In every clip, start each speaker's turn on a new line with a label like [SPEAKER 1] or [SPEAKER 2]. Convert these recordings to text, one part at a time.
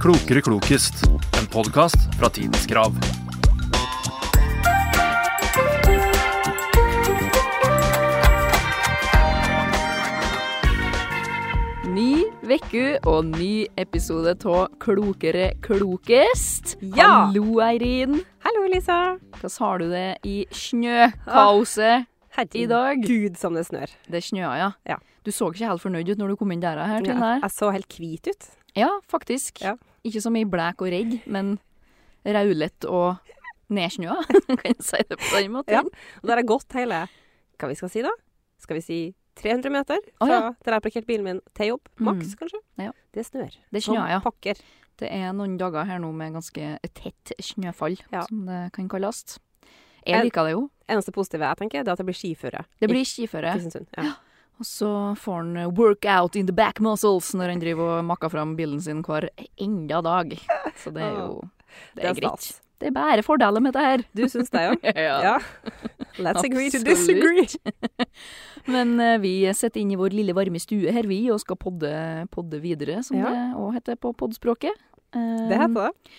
[SPEAKER 1] Klokere klokest, en podkast fra Tidens Krav.
[SPEAKER 2] Ny vekku og ny episode av Klokere klokest.
[SPEAKER 3] Ja!
[SPEAKER 2] Hallo, Eirin.
[SPEAKER 3] Hallo, Lisa.
[SPEAKER 2] Hvordan har du det i snøkaoset i dag?
[SPEAKER 3] Ah, Gud, som det snør.
[SPEAKER 2] Det snøa, ja.
[SPEAKER 3] Ja.
[SPEAKER 2] Du så ikke helt fornøyd ut når du kom inn døra her. til den
[SPEAKER 3] Jeg,
[SPEAKER 2] her.
[SPEAKER 3] jeg så helt hvit ut.
[SPEAKER 2] Ja, faktisk.
[SPEAKER 3] Ja.
[SPEAKER 2] Ikke så mye blek og redd, men raulet og nedsnøa. kan jeg si det på den måten?
[SPEAKER 3] Ja. Og der har jeg gått hele Hva vi skal si, da? Skal vi si 300 meter
[SPEAKER 2] Å,
[SPEAKER 3] fra
[SPEAKER 2] ja. Mm.
[SPEAKER 3] der jeg har parkert bilen min, til jobb? Maks, kanskje?
[SPEAKER 2] Ja.
[SPEAKER 3] Det snør.
[SPEAKER 2] Det snøa, ja.
[SPEAKER 3] Som pokker.
[SPEAKER 2] Det er noen dager her nå med ganske tett snøfall,
[SPEAKER 3] Ja.
[SPEAKER 2] som det kan kalles. Jeg
[SPEAKER 3] Jeg-
[SPEAKER 2] liker det jo.
[SPEAKER 3] Eneste positive jeg tenker, det er at det blir skiføre.
[SPEAKER 2] Det
[SPEAKER 3] i
[SPEAKER 2] blir skiføre.
[SPEAKER 3] Kristiansund. Ja.
[SPEAKER 2] Og så får han eh, workout in the back muscles når han driver og makker fram bilen sin hver enda dag. Så det er jo Det er greit.
[SPEAKER 3] stas.
[SPEAKER 2] Det er bare fordeler med det her.
[SPEAKER 3] Du syns det, ja?
[SPEAKER 2] Ja.
[SPEAKER 3] ja. Let's agree to
[SPEAKER 2] Absolutt.
[SPEAKER 3] disagree.
[SPEAKER 2] Men eh, vi sitter inne i vår lille varme stue her, vi, og skal podde, podde videre, som
[SPEAKER 3] Ja.
[SPEAKER 2] det òg heter på podspråket. Eh,
[SPEAKER 3] Det heter det.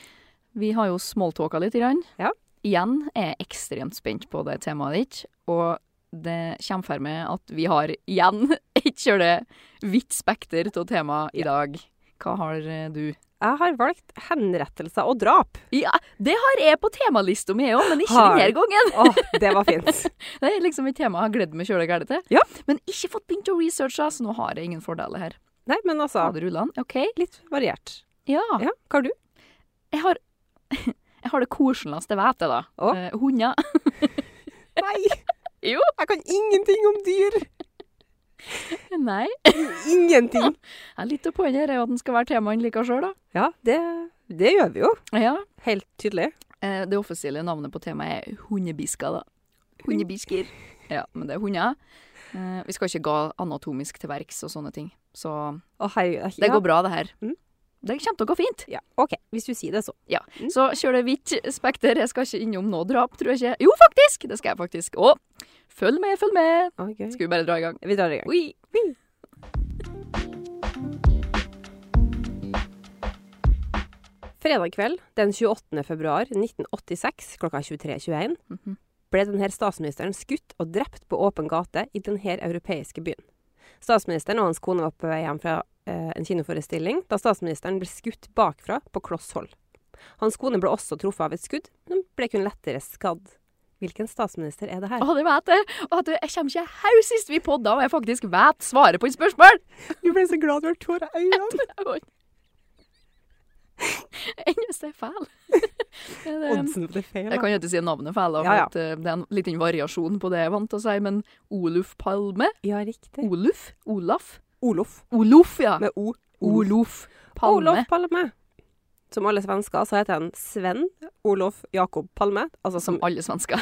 [SPEAKER 2] Vi har jo smalltalka litt. Grann.
[SPEAKER 3] Ja.
[SPEAKER 2] Igjen er jeg ekstremt spent på det temaet ditt. Og det kommer for meg at vi har igjen et kjøle vidt spekter av tema i dag. Hva har eh, du?
[SPEAKER 3] Jeg har valgt henrettelser og drap.
[SPEAKER 2] Ja, det har jeg på temalista mi òg, men ikke
[SPEAKER 3] Har-
[SPEAKER 2] denne gangen.
[SPEAKER 3] Å, det var fint.
[SPEAKER 2] Det er liksom et tema jeg har gledet meg kjøle gærent til.
[SPEAKER 3] Ja.
[SPEAKER 2] Men ikke fått begynt å researche, så nå har jeg ingen fordeler her.
[SPEAKER 3] Nei, men altså
[SPEAKER 2] Fader Ah. Ulland, OK?
[SPEAKER 3] Litt variert.
[SPEAKER 2] Ja.
[SPEAKER 3] Ja, hva har du?
[SPEAKER 2] Jeg har, jeg har det koseligste jeg vet, jeg, da.
[SPEAKER 3] Å?
[SPEAKER 2] Eh, Hunder.
[SPEAKER 3] Nei!
[SPEAKER 2] Jo.
[SPEAKER 3] Jeg kan ingenting om dyr!
[SPEAKER 2] Nei.
[SPEAKER 3] Ingenting!
[SPEAKER 2] Ja, Litt av poenget her er jo at den skal være tema han liker sjøl, da.
[SPEAKER 3] Ja, det, det gjør vi jo.
[SPEAKER 2] Ja.
[SPEAKER 3] Helt tydelig.
[SPEAKER 2] Eh, Det offisielle navnet på temaet er hundebisker, da. Hundebisker. Ja, men det er hunder. Eh, Vi skal ikke gå anatomisk til verks og sånne ting. Så
[SPEAKER 3] Å, herregud.
[SPEAKER 2] det går bra, det her.
[SPEAKER 3] Mm.
[SPEAKER 2] Det kommer til å gå fint.
[SPEAKER 3] Ja, OK. Hvis du sier det, så. Mm.
[SPEAKER 2] Så kjør det hvitt spekter. Jeg skal ikke innom noe drap, tror jeg ikke. Jo, faktisk! Det skal jeg faktisk. Å, følg med, følg med!
[SPEAKER 3] Okay.
[SPEAKER 2] Skal vi bare dra i gang?
[SPEAKER 3] Vi drar i gang.
[SPEAKER 2] Oi.
[SPEAKER 3] Fredag kveld den 28. februar 1986 klokka 23.21
[SPEAKER 2] Mhm.
[SPEAKER 3] ble denne statsministeren skutt og drept på åpen gate i denne europeiske byen. Statsministeren og hans kone var på vei hjem fra eh, en kinoforestilling da statsministeren ble skutt bakfra på kloss hold. Hans kone ble også truffet av et skudd, men ble kun lettere skadd. Hvilken statsminister er det her?
[SPEAKER 2] Å, det vet jeg! Å, du, jeg kommer ikke her sist vi podda, og jeg faktisk vet svaret på et spørsmål!
[SPEAKER 3] Du ble så glad du har tårer i øynene!
[SPEAKER 2] Eneste er feil. Det er det.
[SPEAKER 3] Oddsen på det er feil.
[SPEAKER 2] Eh, Jeg
[SPEAKER 3] da.
[SPEAKER 2] kan jo ikke si navnet feil, da, for
[SPEAKER 3] Ja, ja.
[SPEAKER 2] At, eh, det er en liten variasjon på det jeg er vant til å si, men Oluf Palme?
[SPEAKER 3] Ja, riktig.
[SPEAKER 2] Oluf? Olaf?
[SPEAKER 3] Olof.
[SPEAKER 2] Olof, ja.
[SPEAKER 3] Med O.
[SPEAKER 2] Oluf Palme.
[SPEAKER 3] Olof Palme. Som alle svensker så heter han Sven Olof Jakob Palme. Altså som
[SPEAKER 2] Som alle svensker.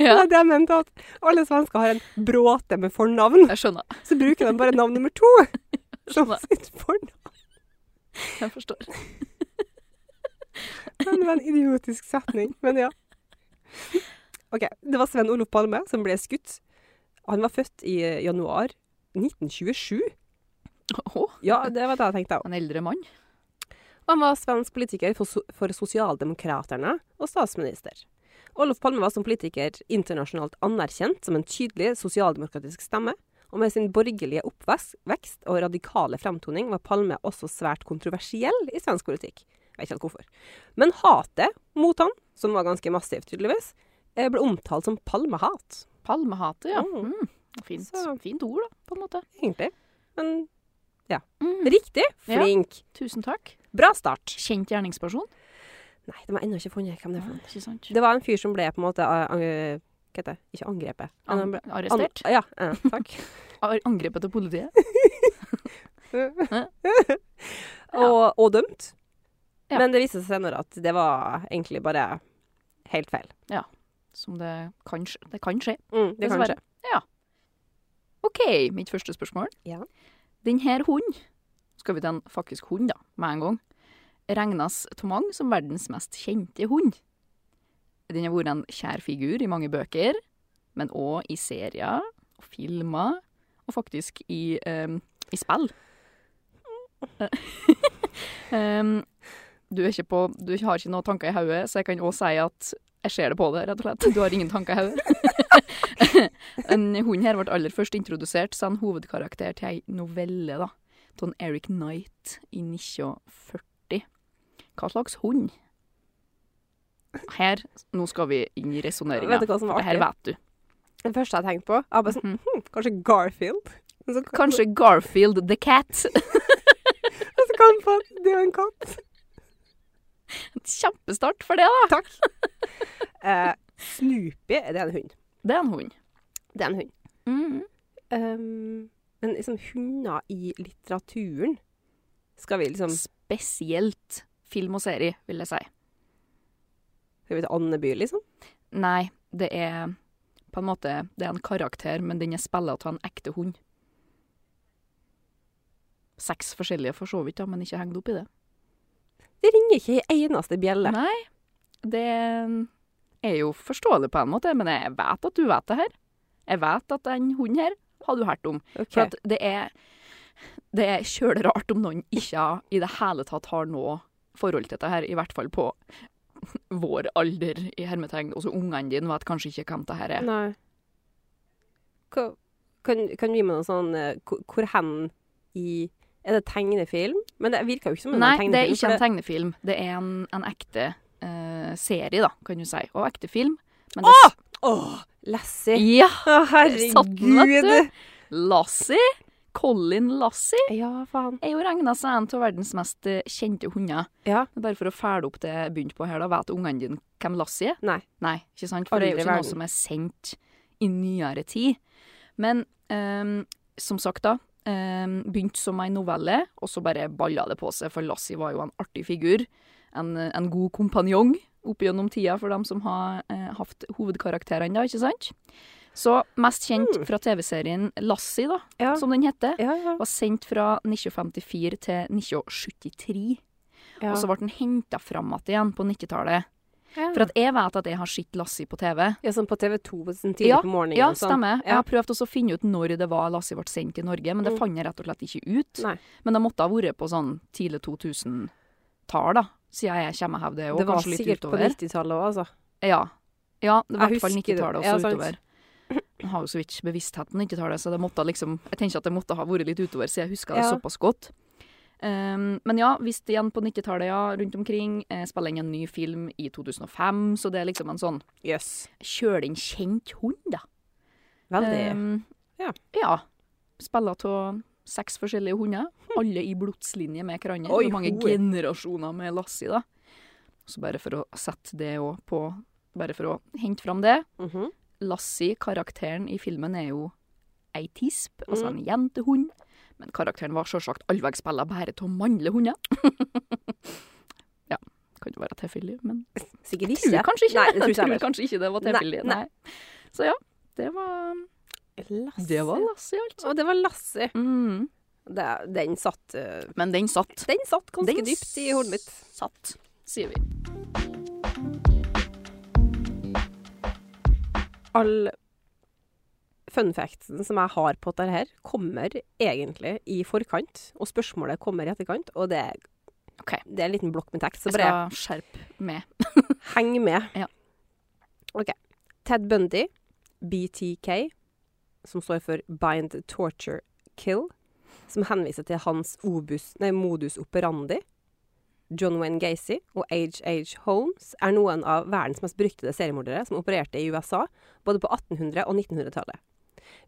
[SPEAKER 3] ja.
[SPEAKER 2] ja,
[SPEAKER 3] Det jeg mente at alle svensker har en bråte med fornavn.
[SPEAKER 2] jeg skjønner.
[SPEAKER 3] Så bruker de bare navn nummer to som
[SPEAKER 2] Skjønner.
[SPEAKER 3] sitt fornavn.
[SPEAKER 2] Jeg forstår.
[SPEAKER 3] Det var en idiotisk setning, men ja. OK. Det var Sven Olof Palme som ble skutt. Han var født i januar 1927.
[SPEAKER 2] Å,
[SPEAKER 3] Ja, det var det jeg tenkte òg.
[SPEAKER 2] en eldre mann.
[SPEAKER 3] Han var svensk politiker for, so- for Sosialdemokraterne og statsminister. Olof Palme var som politiker internasjonalt anerkjent som en tydelig sosialdemokratisk stemme, og med sin borgerlige oppvekst vekst og radikale fremtoning var Palme også svært kontroversiell i svensk politikk. Jeg vet ikke helt hvorfor. Men hatet mot han, som var ganske massivt tydeligvis, eh, ble omtalt som palmehat,
[SPEAKER 2] Palmehate, ja.
[SPEAKER 3] Mm.
[SPEAKER 2] Mm. Fint,
[SPEAKER 3] Så-
[SPEAKER 2] fint ord, da, på en måte.
[SPEAKER 3] egentlig. Men
[SPEAKER 2] Mm.
[SPEAKER 3] riktig!
[SPEAKER 2] Ja.
[SPEAKER 3] Flink!
[SPEAKER 2] Tusen takk.
[SPEAKER 3] Bra start!
[SPEAKER 2] Kjent gjerningsperson.
[SPEAKER 3] Nei, de har ennå ikke funnet hvem det
[SPEAKER 2] Ja,
[SPEAKER 3] er. for noe.
[SPEAKER 2] ikke sant.
[SPEAKER 3] Det var en fyr som ble på en måte eh, Hva heter det? Ikke angrepet. Men han
[SPEAKER 2] An
[SPEAKER 3] ble-
[SPEAKER 2] arrestert.
[SPEAKER 3] An ja, eh, takk.
[SPEAKER 2] Ar angrepet til politiet.
[SPEAKER 3] og, og dømt.
[SPEAKER 2] Ja.
[SPEAKER 3] Men det viste seg senere at det var egentlig bare helt feil.
[SPEAKER 2] Som det kan, skje- det kan skje.
[SPEAKER 3] Mm, det kan
[SPEAKER 2] Dessverre.
[SPEAKER 3] skje.
[SPEAKER 2] OK, mitt første spørsmål.
[SPEAKER 3] Ja.
[SPEAKER 2] Den her hunden, skal vi ta en faktisk hund da, med en gang, regnes av mange som verdens mest kjente hund. Den har vært en kjær figur i mange bøker, men òg i ehm, serier og filmer, og faktisk i, eh, i spill. Ehm, du, er ikke på, du har ikke noen tanker i hodet, så jeg kan òg si at jeg ser det på deg, rett og slett. Du har ingen tanker i hodet. en hund her ble aller først introdusert som en hovedkarakter til ei novelle, da. Av en Eric Knight i 1940. Hva slags hund? Her, nå skal vi inn i resonneringa.
[SPEAKER 3] Vet du hva som var
[SPEAKER 2] Det her
[SPEAKER 3] artig?
[SPEAKER 2] vet du.
[SPEAKER 3] Det første jeg tenkte på, jeg var bare sånn, hm, kanskje Garfield? Men så kom-
[SPEAKER 2] Kanskje Garfield the Cat.
[SPEAKER 3] Og så kom jeg på at det er jo en katt.
[SPEAKER 2] Kjempestart for det, da.
[SPEAKER 3] Eh, Snoopy, det er en hund.
[SPEAKER 2] Det er en hund.
[SPEAKER 3] Det er en hund.
[SPEAKER 2] Ehm.
[SPEAKER 3] Um, men liksom hunder i litteraturen, skal vi liksom,
[SPEAKER 2] Spesielt film og serie, vil jeg si.
[SPEAKER 3] skal vi til Andeby liksom?
[SPEAKER 2] Nei, det er på en måte Det er en karakter, men den er spilla av en ekte hund. Seks forskjellige, for så vidt, da, men ikke hengt opp i det.
[SPEAKER 3] Det ringer ikke i eneste bjelle.
[SPEAKER 2] Nei, det er jo forståelig på en måte, men jeg vet at du vet det her. Jeg vet at den hunden her har du hørt om.
[SPEAKER 3] Ok.
[SPEAKER 2] For at det er Det er kjølerart om noen ikke har- i det hele tatt har noe forhold til dette her, i hvert fall på vår alder, i hermetegn. Også ungene dine vet kanskje ikke hvem det her er.
[SPEAKER 3] Nei. Hva- Kan, kan du gi meg noe sånn eh, hvor, hvor hen i Er det tegnefilm? Men det virker jo ikke som en
[SPEAKER 2] Nei,
[SPEAKER 3] tegnefilm.
[SPEAKER 2] det er ikke
[SPEAKER 3] for
[SPEAKER 2] en tegnefilm. Det er en, en ekte eh, serie, da, kan du si. Og ekte film. Men det,
[SPEAKER 3] Åh, Lassie!
[SPEAKER 2] Ja!
[SPEAKER 3] Å,
[SPEAKER 2] Satt den, vet
[SPEAKER 3] herregud!
[SPEAKER 2] du. Lassie. Colin Lassie
[SPEAKER 3] Ja, faen.
[SPEAKER 2] er jo regna som en av verdens mest eh, kjente hunder.
[SPEAKER 3] Ja.
[SPEAKER 2] Men Bare for å følge opp det jeg begynte på her, da, vet ungene dine hvem Lassie er?
[SPEAKER 3] Nei.
[SPEAKER 2] Nei, ikke sant? For det er jo
[SPEAKER 3] Aldri i
[SPEAKER 2] ikke
[SPEAKER 3] verden.
[SPEAKER 2] noe som er sendt i nyere tid. Men ehm, som sagt da, ehm, begynte som en novelle, og så bare balla det på seg, for Lassie var jo en artig figur, en, en god kompanjong opp gjennom tida for dem som har eh, hatt hovedkarakterene da, ikke sant? Så mest kjent fra TV-serien Lassie da,
[SPEAKER 3] Mm. Ja.
[SPEAKER 2] som den heter,
[SPEAKER 3] Ja, ja.
[SPEAKER 2] var sendt fra 1954 til 1973.
[SPEAKER 3] ja.
[SPEAKER 2] Og så ble den henta fram igjen på 90-tallet.
[SPEAKER 3] Ja.
[SPEAKER 2] For at jeg vet at jeg har sett Lassie på TV.
[SPEAKER 3] ja, sånn på TV 2 sånn tidlig på morgenen.
[SPEAKER 2] Ja,
[SPEAKER 3] og sånn.
[SPEAKER 2] stemmer. Jeg
[SPEAKER 3] Ja.
[SPEAKER 2] har prøvd også å finne ut når det var Lassie ble sendt til Norge, men det
[SPEAKER 3] Mm.
[SPEAKER 2] fant jeg rett og slett ikke ut.
[SPEAKER 3] Nei.
[SPEAKER 2] Men det måtte ha vært på sånn tidlig 2000-tall, da. Siden jeg kommer av det, og
[SPEAKER 3] Det var
[SPEAKER 2] kanskje litt
[SPEAKER 3] sikkert på
[SPEAKER 2] utover.
[SPEAKER 3] 90-tallet òg, altså.
[SPEAKER 2] Ja. ja, det var i
[SPEAKER 3] Jeg
[SPEAKER 2] hvert fall
[SPEAKER 3] husker det.
[SPEAKER 2] 90-tallet og
[SPEAKER 3] Ja,
[SPEAKER 2] så
[SPEAKER 3] sant.
[SPEAKER 2] utover. Jeg har jo så vidt bevissthet på 90-tallet, så det måtte liksom Jeg tenker at det måtte ha vært litt utover, siden jeg husker det
[SPEAKER 3] Ja.
[SPEAKER 2] såpass godt. Ehm, men ja, visst igjen på 90-tallet, ja, rundt omkring. Eh, spiller inn en ny film i 2005, så det er liksom en sånn
[SPEAKER 3] Jøss.
[SPEAKER 2] Kjøl inn kjent hund, da.
[SPEAKER 3] Veldig.
[SPEAKER 2] Ehm,
[SPEAKER 3] Ja.
[SPEAKER 2] ja. Spiller av seks forskjellige hunder. Alle i blodslinje med hverandre.
[SPEAKER 3] Hm. Oi,
[SPEAKER 2] Så mange
[SPEAKER 3] hoi.
[SPEAKER 2] generasjoner med Lassie, da. Så bare for å sette det òg på Bare for å hente fram det.
[SPEAKER 3] Mhm.
[SPEAKER 2] Lassie, karakteren i filmen, er jo ei
[SPEAKER 3] Mm.
[SPEAKER 2] tisp, altså en jentehund. Men karakteren var sjølsagt allveg spilla bare av mannlige hunder. ja, kan jo være tilfeldig, men
[SPEAKER 3] Sikkert
[SPEAKER 2] jeg
[SPEAKER 3] ikke.
[SPEAKER 2] tror kanskje ikke
[SPEAKER 3] Nei,
[SPEAKER 2] det.
[SPEAKER 3] det
[SPEAKER 2] Jeg
[SPEAKER 3] tror
[SPEAKER 2] tror
[SPEAKER 3] ikke jeg heller.
[SPEAKER 2] kanskje ikke det var
[SPEAKER 3] Nei,
[SPEAKER 2] tilfeldig. Nei,
[SPEAKER 3] nei.
[SPEAKER 2] Så ja, det var
[SPEAKER 3] Lasse.
[SPEAKER 2] Det var Lassie, altså.
[SPEAKER 3] Å, det var Lassie.
[SPEAKER 2] Mm.
[SPEAKER 3] Det, den satt eh,
[SPEAKER 2] Men den satt.
[SPEAKER 3] Den satt ganske
[SPEAKER 2] Den
[SPEAKER 3] dypt i hodet mitt.
[SPEAKER 2] Satt, sier vi.
[SPEAKER 3] All fun factsen som jeg har på dette her, kommer egentlig i forkant, og spørsmålet kommer i etterkant, og det er,
[SPEAKER 2] Ok.
[SPEAKER 3] det er en liten blokk med tekst, så
[SPEAKER 2] Jeg
[SPEAKER 3] bare
[SPEAKER 2] skal skjerpe med.
[SPEAKER 3] heng med.
[SPEAKER 2] Ja.
[SPEAKER 3] Ok. Ted Bundy, BTK, som står for Bind Torture Kill, som henviser til hans obus, nei, modus operandi, John Wayne Gacy og H.H. Holmes er noen av verdens mest beryktede seriemordere som opererte i USA både på 1800- og 1900-tallet.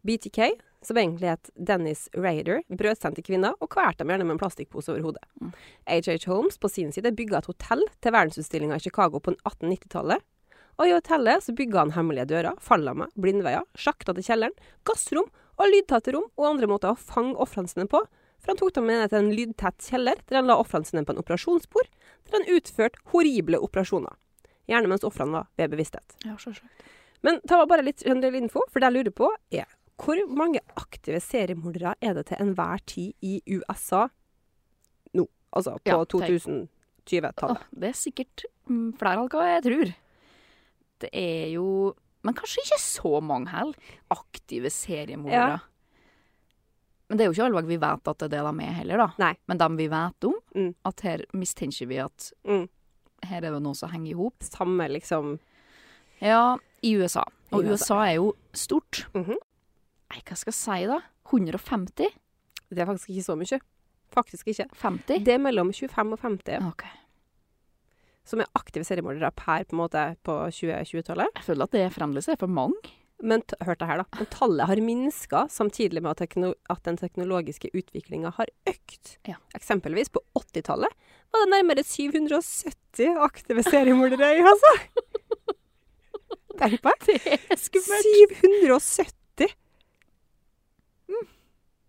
[SPEAKER 3] BTK, som egentlig het Dennis Raider, brøt seg til kvinner og kvalte dem gjerne med en plastikkpose over hodet. H.H. Holmes på sin side bygga et hotell til verdensutstillinga i Chicago på 1890-tallet. Og i hotellet så bygga han hemmelige dører, fallamer, blindveier, sjakter til kjelleren, gassrom og lydtette rom og andre måter å fange ofrene sine på. For han tok dem med ned til en lydtett kjeller, der han la ofrene sine på en operasjonsbord, der han utførte horrible operasjoner. Gjerne mens ofrene var ved bevissthet.
[SPEAKER 2] Ja, sjølsagt.
[SPEAKER 3] Men ta bare litt generell info, for det jeg lurer på er hvor mange aktive seriemordere er det til enhver tid i USA nå? Altså på
[SPEAKER 2] Ja, tenk.
[SPEAKER 3] 2020-tallet.
[SPEAKER 2] det er sikkert mm, flere av hva jeg tror. Det er jo Men kanskje ikke så mange heller. Aktive seriemordere.
[SPEAKER 3] Ja.
[SPEAKER 2] Men det er jo ikke alle lag vi vet at det er det de er heller, da.
[SPEAKER 3] Nei.
[SPEAKER 2] Men dem vi vet om,
[SPEAKER 3] Mm.
[SPEAKER 2] at her mistenker vi at
[SPEAKER 3] Mm.
[SPEAKER 2] her er det noe som henger i hop.
[SPEAKER 3] Samme liksom
[SPEAKER 2] Ja, i USA. Og
[SPEAKER 3] I USA.
[SPEAKER 2] USA er jo stort.
[SPEAKER 3] Mhm.
[SPEAKER 2] Nei, hva skal jeg si da? 150?
[SPEAKER 3] Det er faktisk ikke så mye. Faktisk ikke.
[SPEAKER 2] 50?
[SPEAKER 3] Det er mellom 25 og 50
[SPEAKER 2] Ok.
[SPEAKER 3] som er aktive seriemordere per på en måte på 2020-tallet.
[SPEAKER 2] Jeg føler at det fremdeles er for mange.
[SPEAKER 3] Men t hør det her, da. Men tallet har minska samtidig med at, tekno at den teknologiske utviklinga har økt.
[SPEAKER 2] Ja.
[SPEAKER 3] Eksempelvis på 80-tallet var det nærmere 770 aktive seriemordere i altså. Tenk på det.
[SPEAKER 2] Det er
[SPEAKER 3] 770!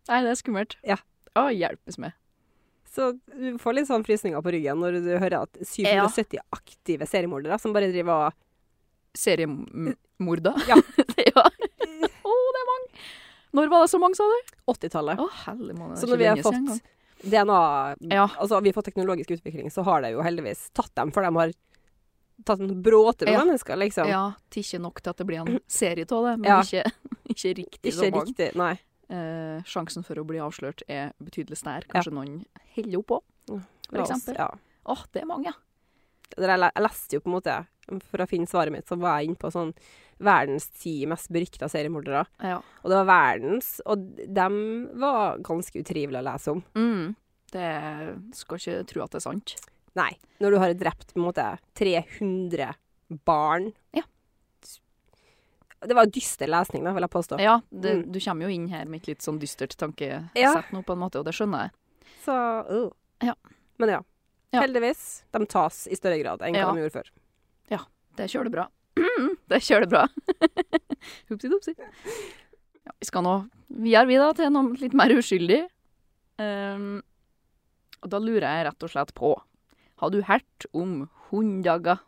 [SPEAKER 2] Nei, det er skummelt.
[SPEAKER 3] Ja.
[SPEAKER 2] Å, hjelpes med.
[SPEAKER 3] Så du får litt sånn frysninger på ryggen når du hører at 770 aktive seriemordere som bare driver og
[SPEAKER 2] Seriemorda.
[SPEAKER 3] Ja.
[SPEAKER 2] ja. Å, det er mange. Når var det så mange, sa du?
[SPEAKER 3] 80-tallet.
[SPEAKER 2] Å, hellig måned.
[SPEAKER 3] Så når vi har fått DNA
[SPEAKER 2] Ja.
[SPEAKER 3] Altså, vi har fått teknologisk utvikling, så har det jo heldigvis tatt dem, for de har tatt en bråte med
[SPEAKER 2] Ja.
[SPEAKER 3] mennesker, liksom.
[SPEAKER 2] Ja, til ikke nok til at det blir en serie av det, men
[SPEAKER 3] Ja.
[SPEAKER 2] ikke, ikke riktig så
[SPEAKER 3] Ikke
[SPEAKER 2] mange.
[SPEAKER 3] riktig, nei.
[SPEAKER 2] Eh, sjansen for å bli avslørt er betydelig stær. Kanskje noen heller opp òg. For
[SPEAKER 3] La oss-
[SPEAKER 2] eksempel.
[SPEAKER 3] Ja.
[SPEAKER 2] Åh, det er mange, ja.
[SPEAKER 3] Der jeg, le- jeg leste jo på en måte, for å finne svaret mitt, så var jeg inne på sånn verdens ti mest berykta seriemordere.
[SPEAKER 2] ja.
[SPEAKER 3] Og det var verdens, og dem var ganske utrivelige å lese om.
[SPEAKER 2] Mm. Det skal ikke tro at det er sant.
[SPEAKER 3] Nei. Når du har drept på en måte 300 barn.
[SPEAKER 2] Ja.
[SPEAKER 3] Det var dyster lesning, da, vil jeg påstå.
[SPEAKER 2] Ja, det,
[SPEAKER 3] Mm.
[SPEAKER 2] du kommer jo inn her med et litt sånn dystert tankesett
[SPEAKER 3] Ja.
[SPEAKER 2] nå, på en måte, og det skjønner jeg.
[SPEAKER 3] Så øh.
[SPEAKER 2] Ja.
[SPEAKER 3] Men ja.
[SPEAKER 2] Ja.
[SPEAKER 3] Heldigvis. De tas i større grad enn
[SPEAKER 2] Ja.
[SPEAKER 3] hva de gjorde før.
[SPEAKER 2] Det kjører bra. det kjører bra. Hupsi dupsi. Ja, vi skal nå videre, vi da, til noe litt mer uskyldig. Ehm, og da lurer jeg rett og slett på Har du hørt om hunddager?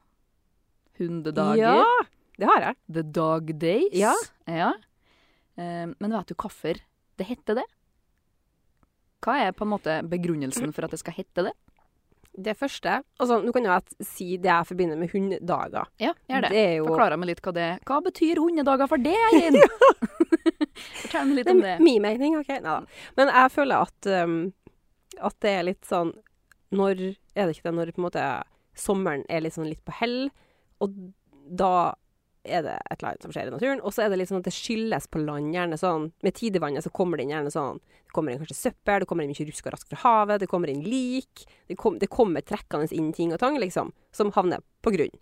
[SPEAKER 2] Hundedager?
[SPEAKER 3] Ja, det har jeg.
[SPEAKER 2] The Dog Days?
[SPEAKER 3] Ja.
[SPEAKER 2] Ja. Ehm, men vet du hvorfor det heter det? Hva er på en måte begrunnelsen for at det skal hette det?
[SPEAKER 3] Det første altså, Nå kan jeg at- si det jeg forbinder med hundedager.
[SPEAKER 2] Ja, gjør det.
[SPEAKER 3] Det er jo
[SPEAKER 2] Forklarer meg litt hva det Hva betyr hundedager for det, Eirin? Fortell meg litt
[SPEAKER 3] det
[SPEAKER 2] om det.
[SPEAKER 3] er min mening, OK? Nei da. Men jeg føler at, um, at det er litt sånn Når er det ikke det? Når på en måte sommeren er litt sånn litt på hell, og da er det et eller annet som skjer i naturen. Og så er det litt sånn at det skylles på land, gjerne sånn Med tidevannet så kommer det inn gjerne sånn Det kommer inn kanskje søppel, det kommer inn mye rusk og rask fra havet, det kommer inn lik Det, kom, det kommer trekkende inn ting og tang, liksom, som havner på grunn.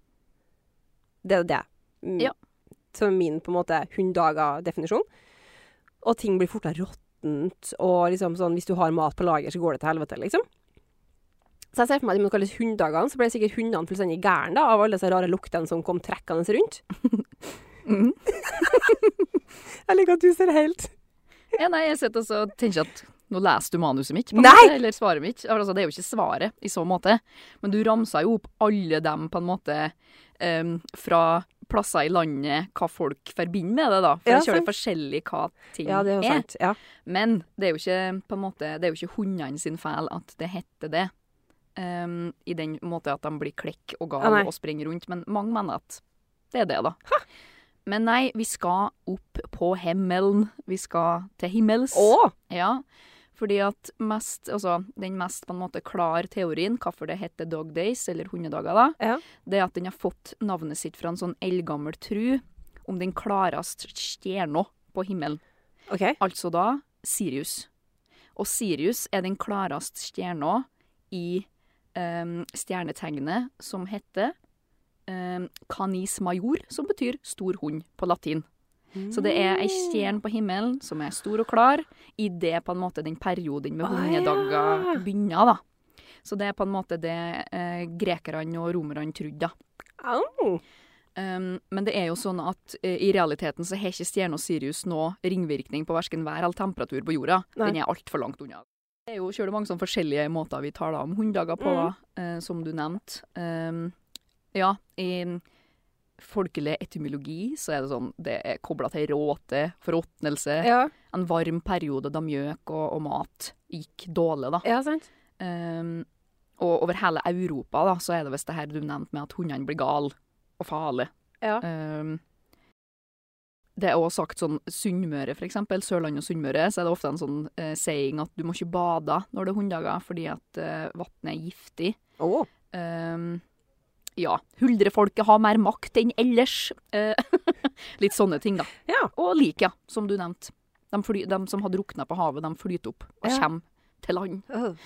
[SPEAKER 3] Det er det. Mm.
[SPEAKER 2] Ja.
[SPEAKER 3] Som er min på en måte hunddager-definisjon. Og ting blir fortere råttent, og liksom sånn Hvis du har mat på lager, så går det til helvete, liksom. Så jeg ser for meg at de må kalles hunddagene, så ble sikkert hundene fullstendig gærne da, av alle disse rare luktene som kom trekkende rundt.
[SPEAKER 2] Mhm.
[SPEAKER 3] Jeg liker at du ser helt
[SPEAKER 2] Ja, nei, jeg sitter også og tenker at nå leser du manuset mitt, på en
[SPEAKER 3] Nei!
[SPEAKER 2] måte, eller svaret mitt. Altså, det er jo ikke svaret i så måte, men du ramsa jo opp alle dem på en måte em, fra plasser i landet, hva folk forbinder med det, da. For
[SPEAKER 3] Ja,
[SPEAKER 2] det kjører
[SPEAKER 3] sant.
[SPEAKER 2] forskjellig hva ting
[SPEAKER 3] Ja, det er jo sant. Ja.
[SPEAKER 2] Men det er jo ikke, på en måte, det er jo ikke hundene sin feil at det heter det. em, I den måte at de blir klekk og
[SPEAKER 3] Ja,
[SPEAKER 2] gale
[SPEAKER 3] nei.
[SPEAKER 2] og springer rundt. Men mange mener at det er det, da. Men nei, vi skal opp på himmelen. Vi skal til himmels.
[SPEAKER 3] Å!
[SPEAKER 2] Ja, fordi at mest, altså, den mest på en måte klar teorien, hvorfor det heter dog days, eller hundedager da,
[SPEAKER 3] Ja.
[SPEAKER 2] det er at den har fått navnet sitt fra en sånn eldgammel tru om den klarest stjerna på himmelen.
[SPEAKER 3] OK.
[SPEAKER 2] Altså da Sirius. Og Sirius er den klarest stjerna i em, stjernetegnet som heter em, Canis major, som betyr stor hund på latin. Så det er ei stjerne på himmelen som er stor og klar, i det på en måte den perioden med
[SPEAKER 3] Å,
[SPEAKER 2] hundedager
[SPEAKER 3] ja.
[SPEAKER 2] begynner, da. Så det er på en måte det eh, grekerne og romerne trodde, da.
[SPEAKER 3] Au!
[SPEAKER 2] Um, men det er jo sånn at eh, i realiteten så har ikke stjerna Sirius noe ringvirkning på verken vær eller temperatur på jorda.
[SPEAKER 3] Nei.
[SPEAKER 2] Den er altfor langt unna. Det er jo kjølig mange sånne forskjellige måter vi taler om hunddager på,
[SPEAKER 3] Mhm.
[SPEAKER 2] eh, som du nevnte. Um, ja, i folkelig etymologi så er det sånn det er kobla til råte, forråtnelse,
[SPEAKER 3] Ja,
[SPEAKER 2] en varm periode da mjøk og, og mat gikk dårlig, da.
[SPEAKER 3] ja, sant.
[SPEAKER 2] Um, og over hele Europa da, så er det visst det her du nevnte med at hundene blir gale og farlige.
[SPEAKER 3] Ja.
[SPEAKER 2] Um, Ehm, Det er også sagt sånn Sunnmøre, for eksempel. Sørland og Sunnmøre. Så er det ofte en sånn eh, saying at du må ikke bade når det er hunddager, fordi at eh, vannet er giftig.
[SPEAKER 3] Å,
[SPEAKER 2] Ehm, ja. Huldrefolket har mer makt enn ellers. Eh, litt sånne ting, da.
[SPEAKER 3] Ja.
[SPEAKER 2] Og lik, ja, som du nevnte. De, fly, de som har drukna på havet, de flyter opp og
[SPEAKER 3] Ja.
[SPEAKER 2] kommer til land.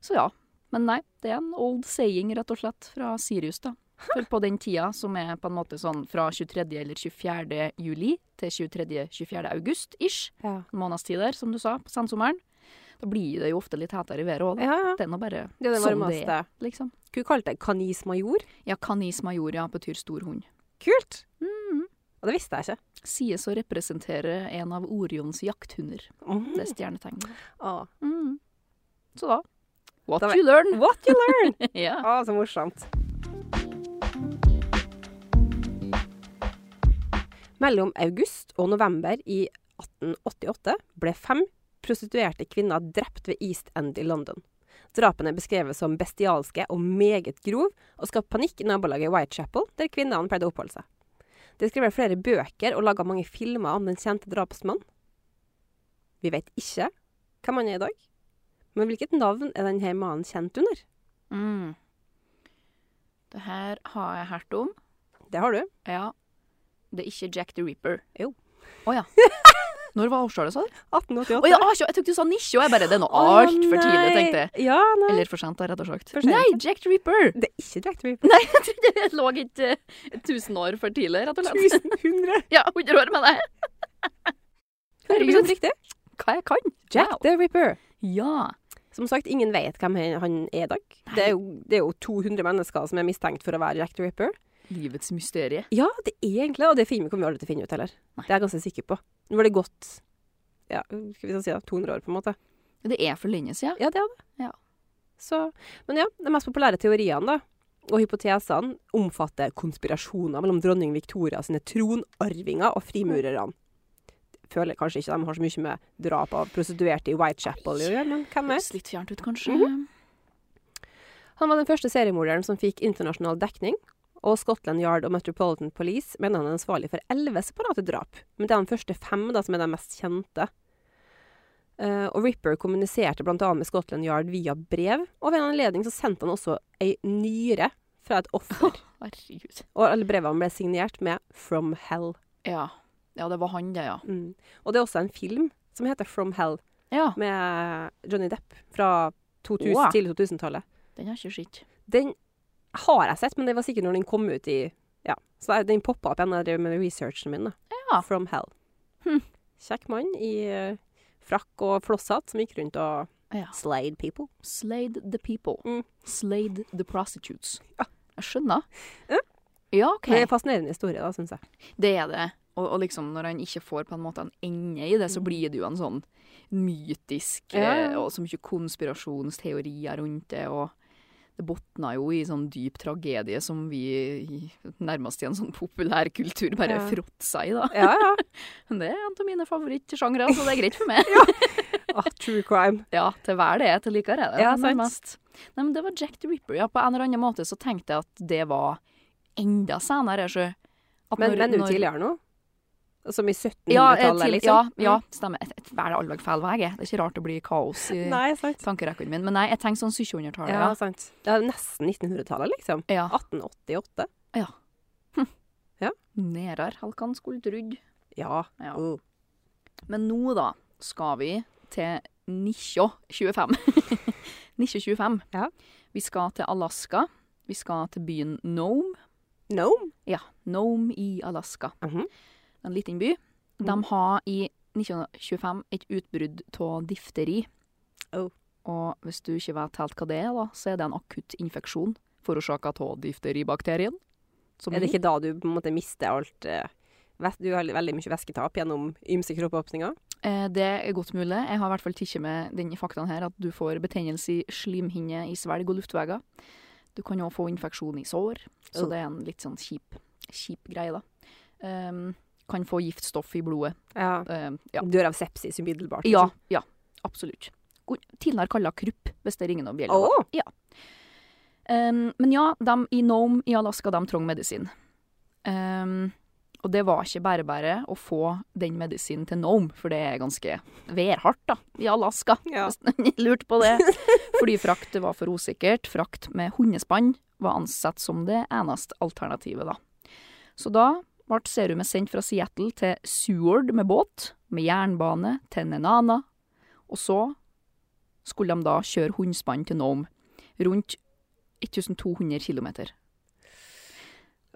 [SPEAKER 2] Så ja. Men nei, det er en old saying, rett og slett, fra Sirius, da. For på den tida, som er på en måte sånn fra 23. eller 24. juli til 23.-24. august ish,
[SPEAKER 3] Ja.
[SPEAKER 2] en måneds tid der, som du sa, på sensommeren, da blir det jo ofte litt hetere i været òg, da.
[SPEAKER 3] ja, ja.
[SPEAKER 2] Det er nå bare
[SPEAKER 3] Det er det
[SPEAKER 2] sånn det
[SPEAKER 3] varmeste.
[SPEAKER 2] er, liksom.
[SPEAKER 3] Kunne kalt det canis major.
[SPEAKER 2] Ja, canis majoria betyr stor hund. Mm.
[SPEAKER 3] Kult! Og det visste jeg ikke.
[SPEAKER 2] Sies å representere en av Orions jakthunder.
[SPEAKER 3] Mm.
[SPEAKER 2] Det er stjernetegnet.
[SPEAKER 3] Å,
[SPEAKER 2] Mm. Så da What
[SPEAKER 3] Da vet-
[SPEAKER 2] you learn!
[SPEAKER 3] What you learn!
[SPEAKER 2] ja.
[SPEAKER 3] Å, så morsomt. Mellom august og november i 1888 ble fem prostituerte kvinner drept ved East End i London. Drapene er beskrevet som bestialske og meget grov, og skapte panikk i nabolaget Whitechapel, der kvinnene pleide å oppholde seg. Det er skrevet flere bøker og laga mange filmer om den kjente drapsmannen. Vi vet ikke hvem han er i dag, men hvilket navn er denne mannen kjent under?
[SPEAKER 2] Mm. Det her har jeg hørt om.
[SPEAKER 3] Det har du.
[SPEAKER 2] Ja. Det er ikke Jack the Ripper.
[SPEAKER 3] Jo.
[SPEAKER 2] Å ja. Når var årstallet, sa du?
[SPEAKER 3] 1888.
[SPEAKER 2] Å ja, ah, jeg tok du sa nisje, og jeg bare Det er noe
[SPEAKER 3] Å,
[SPEAKER 2] altfor tidlig,
[SPEAKER 3] nei.
[SPEAKER 2] tenkte jeg.
[SPEAKER 3] Ja, nei.
[SPEAKER 2] Eller for sent, da, rett og slett.
[SPEAKER 3] For sent.
[SPEAKER 2] Nei, Jack the Ripper!
[SPEAKER 3] det er ikke Jack the Ripper.
[SPEAKER 2] Nei, jeg trodde det lå ikke eh, 1000 år for tidlig, rett og slett.
[SPEAKER 3] 1100.
[SPEAKER 2] Ja, 100 år med deg.
[SPEAKER 3] 100
[SPEAKER 2] Herregud,
[SPEAKER 3] riktig.
[SPEAKER 2] hva jeg kan.
[SPEAKER 3] Jack
[SPEAKER 2] Wow.
[SPEAKER 3] the Ripper.
[SPEAKER 2] Ja.
[SPEAKER 3] Som sagt, ingen vet hvem han han er i dag. Det er, jo, det er jo 200 mennesker som er mistenkt for å være Jack the Ripper.
[SPEAKER 2] Livets mysterie.
[SPEAKER 3] Ja, det er egentlig det, og det filmet kommer vi aldri til å finne ut heller.
[SPEAKER 2] Nei.
[SPEAKER 3] Det er jeg ganske sikker på. Nå var det gått ja, skal vi så si da, 200 år, på en måte.
[SPEAKER 2] Det er for lenge siden.
[SPEAKER 3] Ja, det er det.
[SPEAKER 2] Ja.
[SPEAKER 3] Så, men ja, de mest populære teoriene da, og hypotesene omfatter konspirasjoner mellom dronning Victoria sine tronarvinger og frimurerne. Føler kanskje ikke de har så mye med drap av prostituerte i Whitechapel å gjøre, men hvem vet?
[SPEAKER 2] Høres litt fjernt ut, kanskje.
[SPEAKER 3] Han var den første seriemorderen som fikk internasjonal dekning, og Scotland Yard og Metropolitan Police mener han er ansvarlig for elleve separate drap, men det er de første fem da, som er de mest kjente. Eh, og Ripper kommuniserte bl.a. med Scotland Yard via brev, og ved en anledning så sendte han også ei nyre fra et offer,
[SPEAKER 2] Herregud.
[SPEAKER 3] og alle brevene ble signert med 'From Hell'.
[SPEAKER 2] Ja. ja, det var han, det, ja.
[SPEAKER 3] Mm. Og det er også en film som heter 'From Hell',
[SPEAKER 2] Ja,
[SPEAKER 3] med Johnny Depp fra 2000,
[SPEAKER 2] Wow.
[SPEAKER 3] tidlig 2000-tallet.
[SPEAKER 2] Den har ikke skitt.
[SPEAKER 3] Den har jeg sett, men det var sikkert når den kom ut i Ja. Så jeg- den poppa opp igjen da jeg drev med researchen min. da.
[SPEAKER 2] Ja.
[SPEAKER 3] From Hell.
[SPEAKER 2] Hm.
[SPEAKER 3] Kjekk mann i eh, frakk og flosshatt som gikk rundt og
[SPEAKER 2] Ja.
[SPEAKER 3] slayed people.
[SPEAKER 2] Slade the people.
[SPEAKER 3] Mm.
[SPEAKER 2] Slade the prostitutes.
[SPEAKER 3] Ja.
[SPEAKER 2] Jeg skjønner.
[SPEAKER 3] Ja.
[SPEAKER 2] Ja, OK.
[SPEAKER 3] Det er en fascinerende historie, da, syns jeg.
[SPEAKER 2] Det er det. Og, og liksom når han ikke får på en måte en ende i det, så blir det jo en sånn mytisk
[SPEAKER 3] Mm. Ja, ja.
[SPEAKER 2] eh, Og så mye konspirasjonsteorier rundt det, og det botna jo i sånn dyp tragedie som vi i- nærmest i en sånn populær kultur bare
[SPEAKER 3] Ja.
[SPEAKER 2] fråtsa i, da.
[SPEAKER 3] Ja, ja.
[SPEAKER 2] Men det er en av mine favorittsjangre, så det er greit for meg.
[SPEAKER 3] Ah, true crime.
[SPEAKER 2] Ja, til hver det er, til likere er det.
[SPEAKER 3] Ja, sant.
[SPEAKER 2] nærmest. Nei, men det var Jack the Ripper. Ja, på en eller annen måte så tenkte jeg at det var enda senere. Så at
[SPEAKER 3] Men,
[SPEAKER 2] når-
[SPEAKER 3] men nå
[SPEAKER 2] når-
[SPEAKER 3] tidligere nå? Som i
[SPEAKER 2] Ja, eh,
[SPEAKER 3] 1700-tallet,
[SPEAKER 2] til,
[SPEAKER 3] liksom?
[SPEAKER 2] ja, ja, stemmer. Et, et, hver dag feil vei, jeg. Det er ikke rart det blir kaos i
[SPEAKER 3] Mm. Nei, sant.
[SPEAKER 2] tankerekken min. Men nei, jeg tenker sånn 1700-tallet.
[SPEAKER 3] Ja,
[SPEAKER 2] Ja.
[SPEAKER 3] sant. Det er nesten 1900-tallet, liksom.
[SPEAKER 2] Ja.
[SPEAKER 3] 1888.
[SPEAKER 2] Nerar, halkan skulle trudd.
[SPEAKER 3] Ja.
[SPEAKER 2] Ja.
[SPEAKER 3] Oh.
[SPEAKER 2] Men nå da skal vi til Nisjå 25. Nisjå 25.
[SPEAKER 3] Ja.
[SPEAKER 2] Vi skal til Alaska. Vi skal til byen Nome.
[SPEAKER 3] Nome?
[SPEAKER 2] Ja, Nome i Alaska.
[SPEAKER 3] Mhm.
[SPEAKER 2] En liten by. De
[SPEAKER 3] Mm.
[SPEAKER 2] har i 1925 et utbrudd av difteri.
[SPEAKER 3] Oh.
[SPEAKER 2] Og hvis du ikke vet helt hva det er, da, så er det en akutt infeksjon forårsaka av difteribakterien. Som
[SPEAKER 3] Er det ikke da du på en måte mister alt eh, ves- Du har veldig mye væsketap gjennom ymse kroppåpninger?
[SPEAKER 2] Eh, Det er godt mulig. Jeg har i hvert fall tatt med den faktaen her at du får betennelse i slimhinne, i svelg og luftveier. Du kan òg få infeksjon i sår, så
[SPEAKER 3] Oh.
[SPEAKER 2] det er en litt sånn kjip, kjip greie, da. Ehm, kan få giftstoff i blodet.
[SPEAKER 3] Ja.
[SPEAKER 2] Ehm, ja.
[SPEAKER 3] Dør av sepsis umiddelbart? liksom?
[SPEAKER 2] ja. Ja, absolutt. God- Tidligere kalla krupp, hvis det ringer noen bjeller.
[SPEAKER 3] Liksom. Å!
[SPEAKER 2] Ehm, men ja, de i Nome i Alaska, de trengte medisin. Ehm, Og det var ikke bare bare å få den medisinen til Nome, for det er ganske værhardt da, i Alaska.
[SPEAKER 3] Ja.
[SPEAKER 2] Hvis noen lurte på det. Flyfrakt var for usikkert. Frakt med hundespann var ansett som det eneste alternativet, da. Så da ble serumet sendt fra Seattle til Seward med båt, med jernbane til Nenana. Og så skulle de da kjøre hundespann til Nome, rundt 1200 km.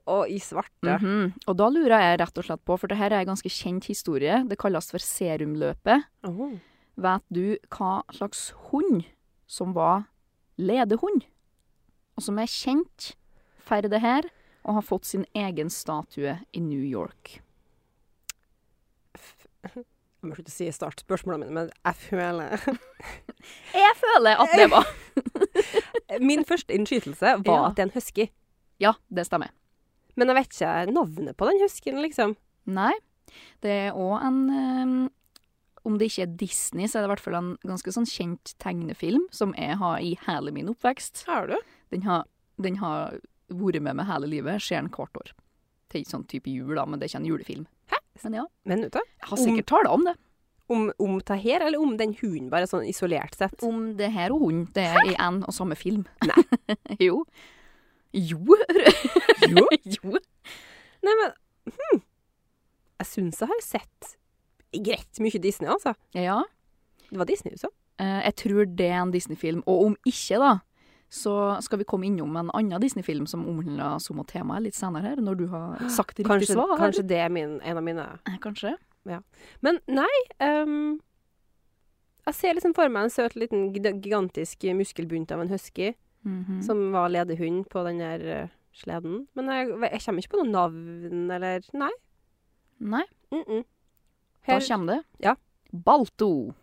[SPEAKER 3] Og i svarte.
[SPEAKER 2] Mhm. Og da lurer jeg rett og slett på, for det her er en ganske kjent historie. Det kalles for serumløpet.
[SPEAKER 3] Åh.
[SPEAKER 2] Vet du hva slags hund som var ledehund? Og som er kjent for det her, og har fått sin egen statue i New York.
[SPEAKER 3] Jeg må slutte å si startspørsmålene mine, men jeg føler
[SPEAKER 2] Jeg føler at det var
[SPEAKER 3] Min første innskytelse var
[SPEAKER 2] Ja.
[SPEAKER 3] at det er en husky.
[SPEAKER 2] Ja, det stemmer.
[SPEAKER 3] Men jeg vet ikke navnet på den huskyen, liksom.
[SPEAKER 2] Nei. Det er òg en eh, Om det ikke er Disney, så er det i hvert fall en ganske sånn kjent tegnefilm som jeg har i hele min oppvekst.
[SPEAKER 3] Har du?
[SPEAKER 2] Den har, den har vært med meg hele livet. Ser den hvert år. Det er ikke sånn type jul, da, men det er ikke en julefilm. Hæ? Men ja,
[SPEAKER 3] Men vet du,
[SPEAKER 2] jeg har sikkert tala om det.
[SPEAKER 3] om, om det her, eller om den hunden, bare sånn isolert sett?
[SPEAKER 2] Om det her og hun. Det er i én og samme film.
[SPEAKER 3] Nei.
[SPEAKER 2] jo. Jo.
[SPEAKER 3] Jo.
[SPEAKER 2] jo.
[SPEAKER 3] Nei, men hmm. Jeg syns jeg har sett greit mye Disney, altså.
[SPEAKER 2] Ja.
[SPEAKER 3] Det var Disney, så.
[SPEAKER 2] Eh, jeg tror det er en Disney-film. Og om ikke, da, så skal vi komme innom en annen Disney-film som omhandler samme tema litt senere her, når du har sagt riktig
[SPEAKER 3] Kanskje,
[SPEAKER 2] svar.
[SPEAKER 3] kanskje det er min, en av mine
[SPEAKER 2] Eh, kanskje.
[SPEAKER 3] Men nei ehm, Jeg ser liksom for meg en søt liten gid- gigantisk muskelbunt av en husky
[SPEAKER 2] Mhm.
[SPEAKER 3] som var ledehund på den der eh, sleden. Men jeg, jeg kommer ikke på noe navn, eller Nei.
[SPEAKER 2] Nei,
[SPEAKER 3] Mm -mm.
[SPEAKER 2] da
[SPEAKER 3] Her,
[SPEAKER 2] kommer det.
[SPEAKER 3] Ja.
[SPEAKER 2] Balto.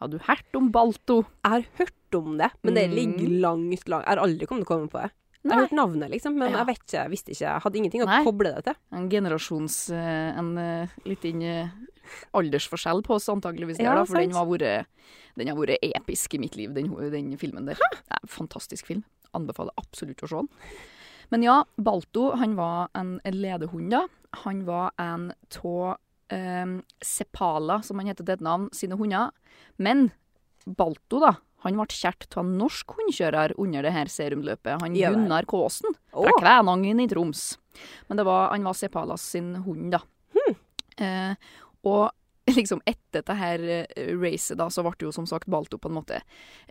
[SPEAKER 2] Har du hørt om Balto?
[SPEAKER 3] jeg har hørt om det, men det
[SPEAKER 2] Mm.
[SPEAKER 3] ligger langt, langt Jeg har aldri kommet til å komme på det. Jeg har hørt navnet, liksom, men
[SPEAKER 2] Ja.
[SPEAKER 3] jeg vet ikke, jeg visste ikke. Jeg hadde ingenting å
[SPEAKER 2] Nei.
[SPEAKER 3] koble det til.
[SPEAKER 2] En generasjons... eh, En eh, liten eh, aldersforskjell på oss antageligvis der,
[SPEAKER 3] Ja,
[SPEAKER 2] da, for den,
[SPEAKER 3] sant.
[SPEAKER 2] var vært, den har vært episk i mitt liv, den, ho- den filmen der. Det er en fantastisk film. Anbefaler absolutt å se den. Men ja, Balto han var en ledehund. da. Han var en av Sepala, som han heter til et navn, sine hunder. Men Balto da, han ble kjært av en norsk hundekjører under det her serumløpet. Han
[SPEAKER 3] Ja vel.
[SPEAKER 2] Gunnar Kaasen fra
[SPEAKER 3] Åh,
[SPEAKER 2] Kvænangen i Troms. Men det var, han var Sepalas sin hund, da.
[SPEAKER 3] Hmm.
[SPEAKER 2] Eh, og liksom etter dette her eh, racet, da, så ble det jo som sagt Balto på en måte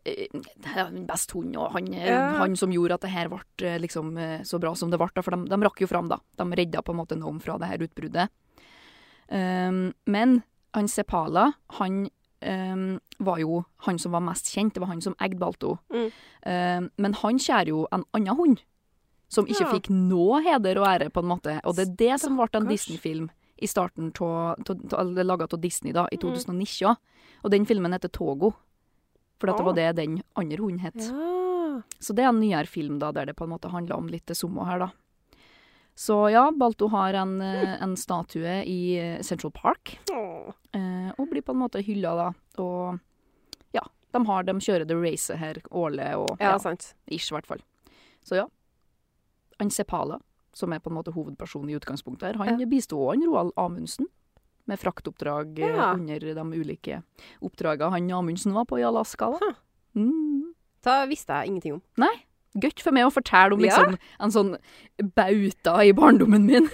[SPEAKER 2] eh, det er den best hund, og han, eh,
[SPEAKER 3] Ja.
[SPEAKER 2] han som gjorde at det her ble eh, liksom eh, så bra som det ble, da, for de, de rakk jo fram, da. De redda på en måte Nome fra det her utbruddet. Ehm, men han Sepala, han ehm, var jo han som var mest kjent, det var han som eide Balto.
[SPEAKER 3] Mm.
[SPEAKER 2] Ehm, men han skjærer jo en annen hund, som ikke
[SPEAKER 3] Ja.
[SPEAKER 2] fikk noe heder og ære, på en måte. Og det er det som ble en
[SPEAKER 3] Stakkars.
[SPEAKER 2] Disney-film i starten, av- av- av- eller laget av Disney da, i
[SPEAKER 3] Mm.
[SPEAKER 2] 2019. Og den filmen heter Togo. For at det var
[SPEAKER 3] Ah.
[SPEAKER 2] det den andre hunden het.
[SPEAKER 3] ja.
[SPEAKER 2] Så det er en nyere film da, der det på en måte handler om litt det samme her, da. Så ja, Balto har en, eh, en statue i eh, Central Park.
[SPEAKER 3] Åh.
[SPEAKER 2] Eh, og blir på en måte hylla, da. Og ja, de, har, de kjører det racet her årlig, og
[SPEAKER 3] ja, altså.
[SPEAKER 2] ja,
[SPEAKER 3] sant.
[SPEAKER 2] ish, i hvert fall. Så ja. Han Sepala, som er på en måte hovedpersonen i utgangspunktet her, han
[SPEAKER 3] Ja.
[SPEAKER 2] bisto òg Roald Amundsen med fraktoppdrag eh,
[SPEAKER 3] Ja.
[SPEAKER 2] under de ulike oppdragene han Amundsen var på i Alaska. da.
[SPEAKER 3] Huh.
[SPEAKER 2] Mm.
[SPEAKER 3] Da visste jeg ingenting om.
[SPEAKER 2] Gøtt for meg å fortelle om
[SPEAKER 3] Ja.
[SPEAKER 2] liksom, en sånn bauta i barndommen min.